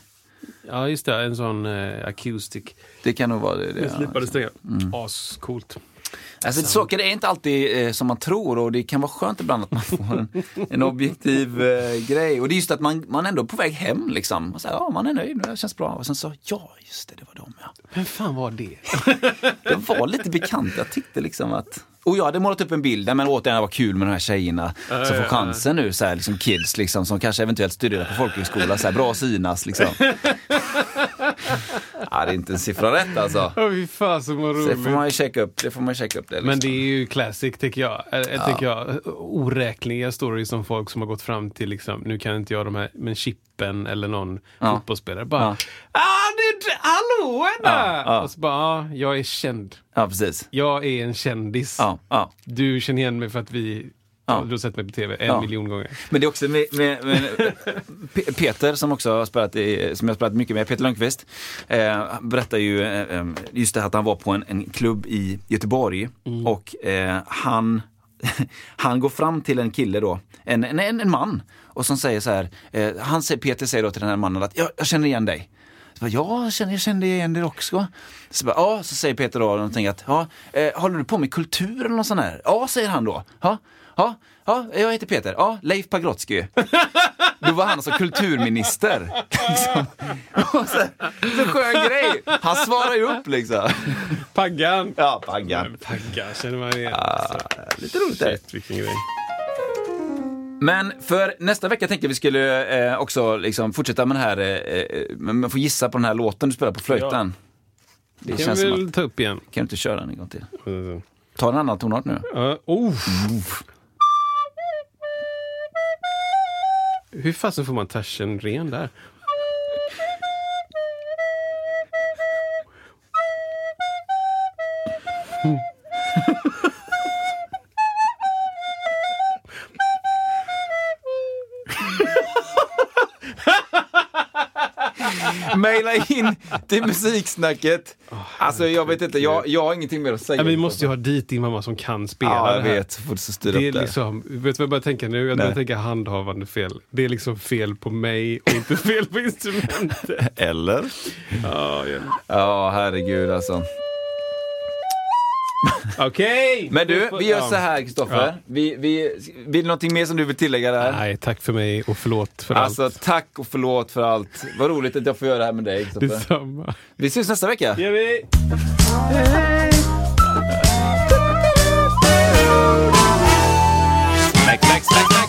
Ja, just det. En sån eh, acoustic. Det kan nog vara det. det ja. Mm. Slipade strängar. Ascoolt. Alltså, saker är inte alltid eh, som man tror och det kan vara skönt ibland att man får en, en objektiv eh, grej. Och det är just att man, man ändå är på väg hem liksom. Och så här, ja, man är nöjd, det känns bra. Och sen så, ja just det, det var de ja. Vem fan var det? Det var lite bekant. Jag tyckte liksom att... Och jag hade målat upp en bild, Nej, men återigen det var kul med de här tjejerna som får chansen nu, så här, liksom kids liksom, som kanske eventuellt studerar på folkhögskola, så här, bra att synas liksom. ja, det är inte en siffra rätt alltså. Åh, Fy fan så vad Så det får roligt. man ju checka upp, det får man ju checka upp det. Liksom. Men det är ju classic, tycker jag. Äh, tycker jag. Oräkneliga stories som folk som har gått fram till, liksom, nu kan inte jag de här, men Chippen eller någon fotbollsspelare. Bara, Ja. ah, det, det- hallå där! Ja, ja. Och så bara, ah, jag är känd. Ja, precis. Jag är en kändis. Ja, ja. Du känner igen mig för att vi, Ja. du har sett mig på TV en Ja. miljon gånger. Men det är också med, med, med Pe- Peter som också har spelat i, som jag har spelat mycket med, Peter Lundqvist. Eh, han berättar ju eh, eh, just det här att han var på en, en klubb i Göteborg och eh, han, han går fram till en kille då, en, en, en en man, och som säger så här, eh, han säger, Peter säger då till den här mannen att jag, jag känner igen dig. Så bara, ja, jag kände, jag kände igen det också. Så, bara, ja, så säger Peter då någonting att, ja, eh, håller du på med kultur eller något sånt här? Ja, säger han då. Ja, ja, ja jag heter Peter. Ja, Leif Pagrotsky. Då var han alltså kulturminister. Liksom. Och så, så skön grej. Han svarar ju upp liksom. Paggan! Ja, Ah, paggan. Paggan känner man igen. alltså. Lite roligt där. Shit, vilken grej. Men för nästa vecka tänkte jag vi skulle eh, också liksom fortsätta med den här, eh, eh, men man får gissa på den här låten du spelar på flöjten. Det kan känns vi som att, väl ta upp igen. kan du inte köra den en gång till? Ta en annan tonart nu. Ja, oh. Hur fasen får man taschen ren där? Maila in till musiksnacket. Alltså jag vet inte, jag, jag har ingenting mer att säga. Nej, vi måste ju ha dit din mamma som kan spela Ja, jag det här. vet. Får du så styra Det är upp det. liksom, vet du vad jag börjar tänka nu? Jag börjar Nej. tänka handhavande fel. Det är liksom fel på mig och inte fel på instrumentet. Eller? Ja, herregud alltså. Okej! Men du, vi gör Ja. så här Kristoffer. Ja. Vi, vi, vill du någonting mer som du vill tillägga där? Nej, tack för mig och förlåt för Alltså allt. tack och förlåt för allt. Vad roligt att jag får göra det här med dig Kristoffer. Detsamma. Vi ses nästa vecka. Gör vi! Mac, mac, mac, mac.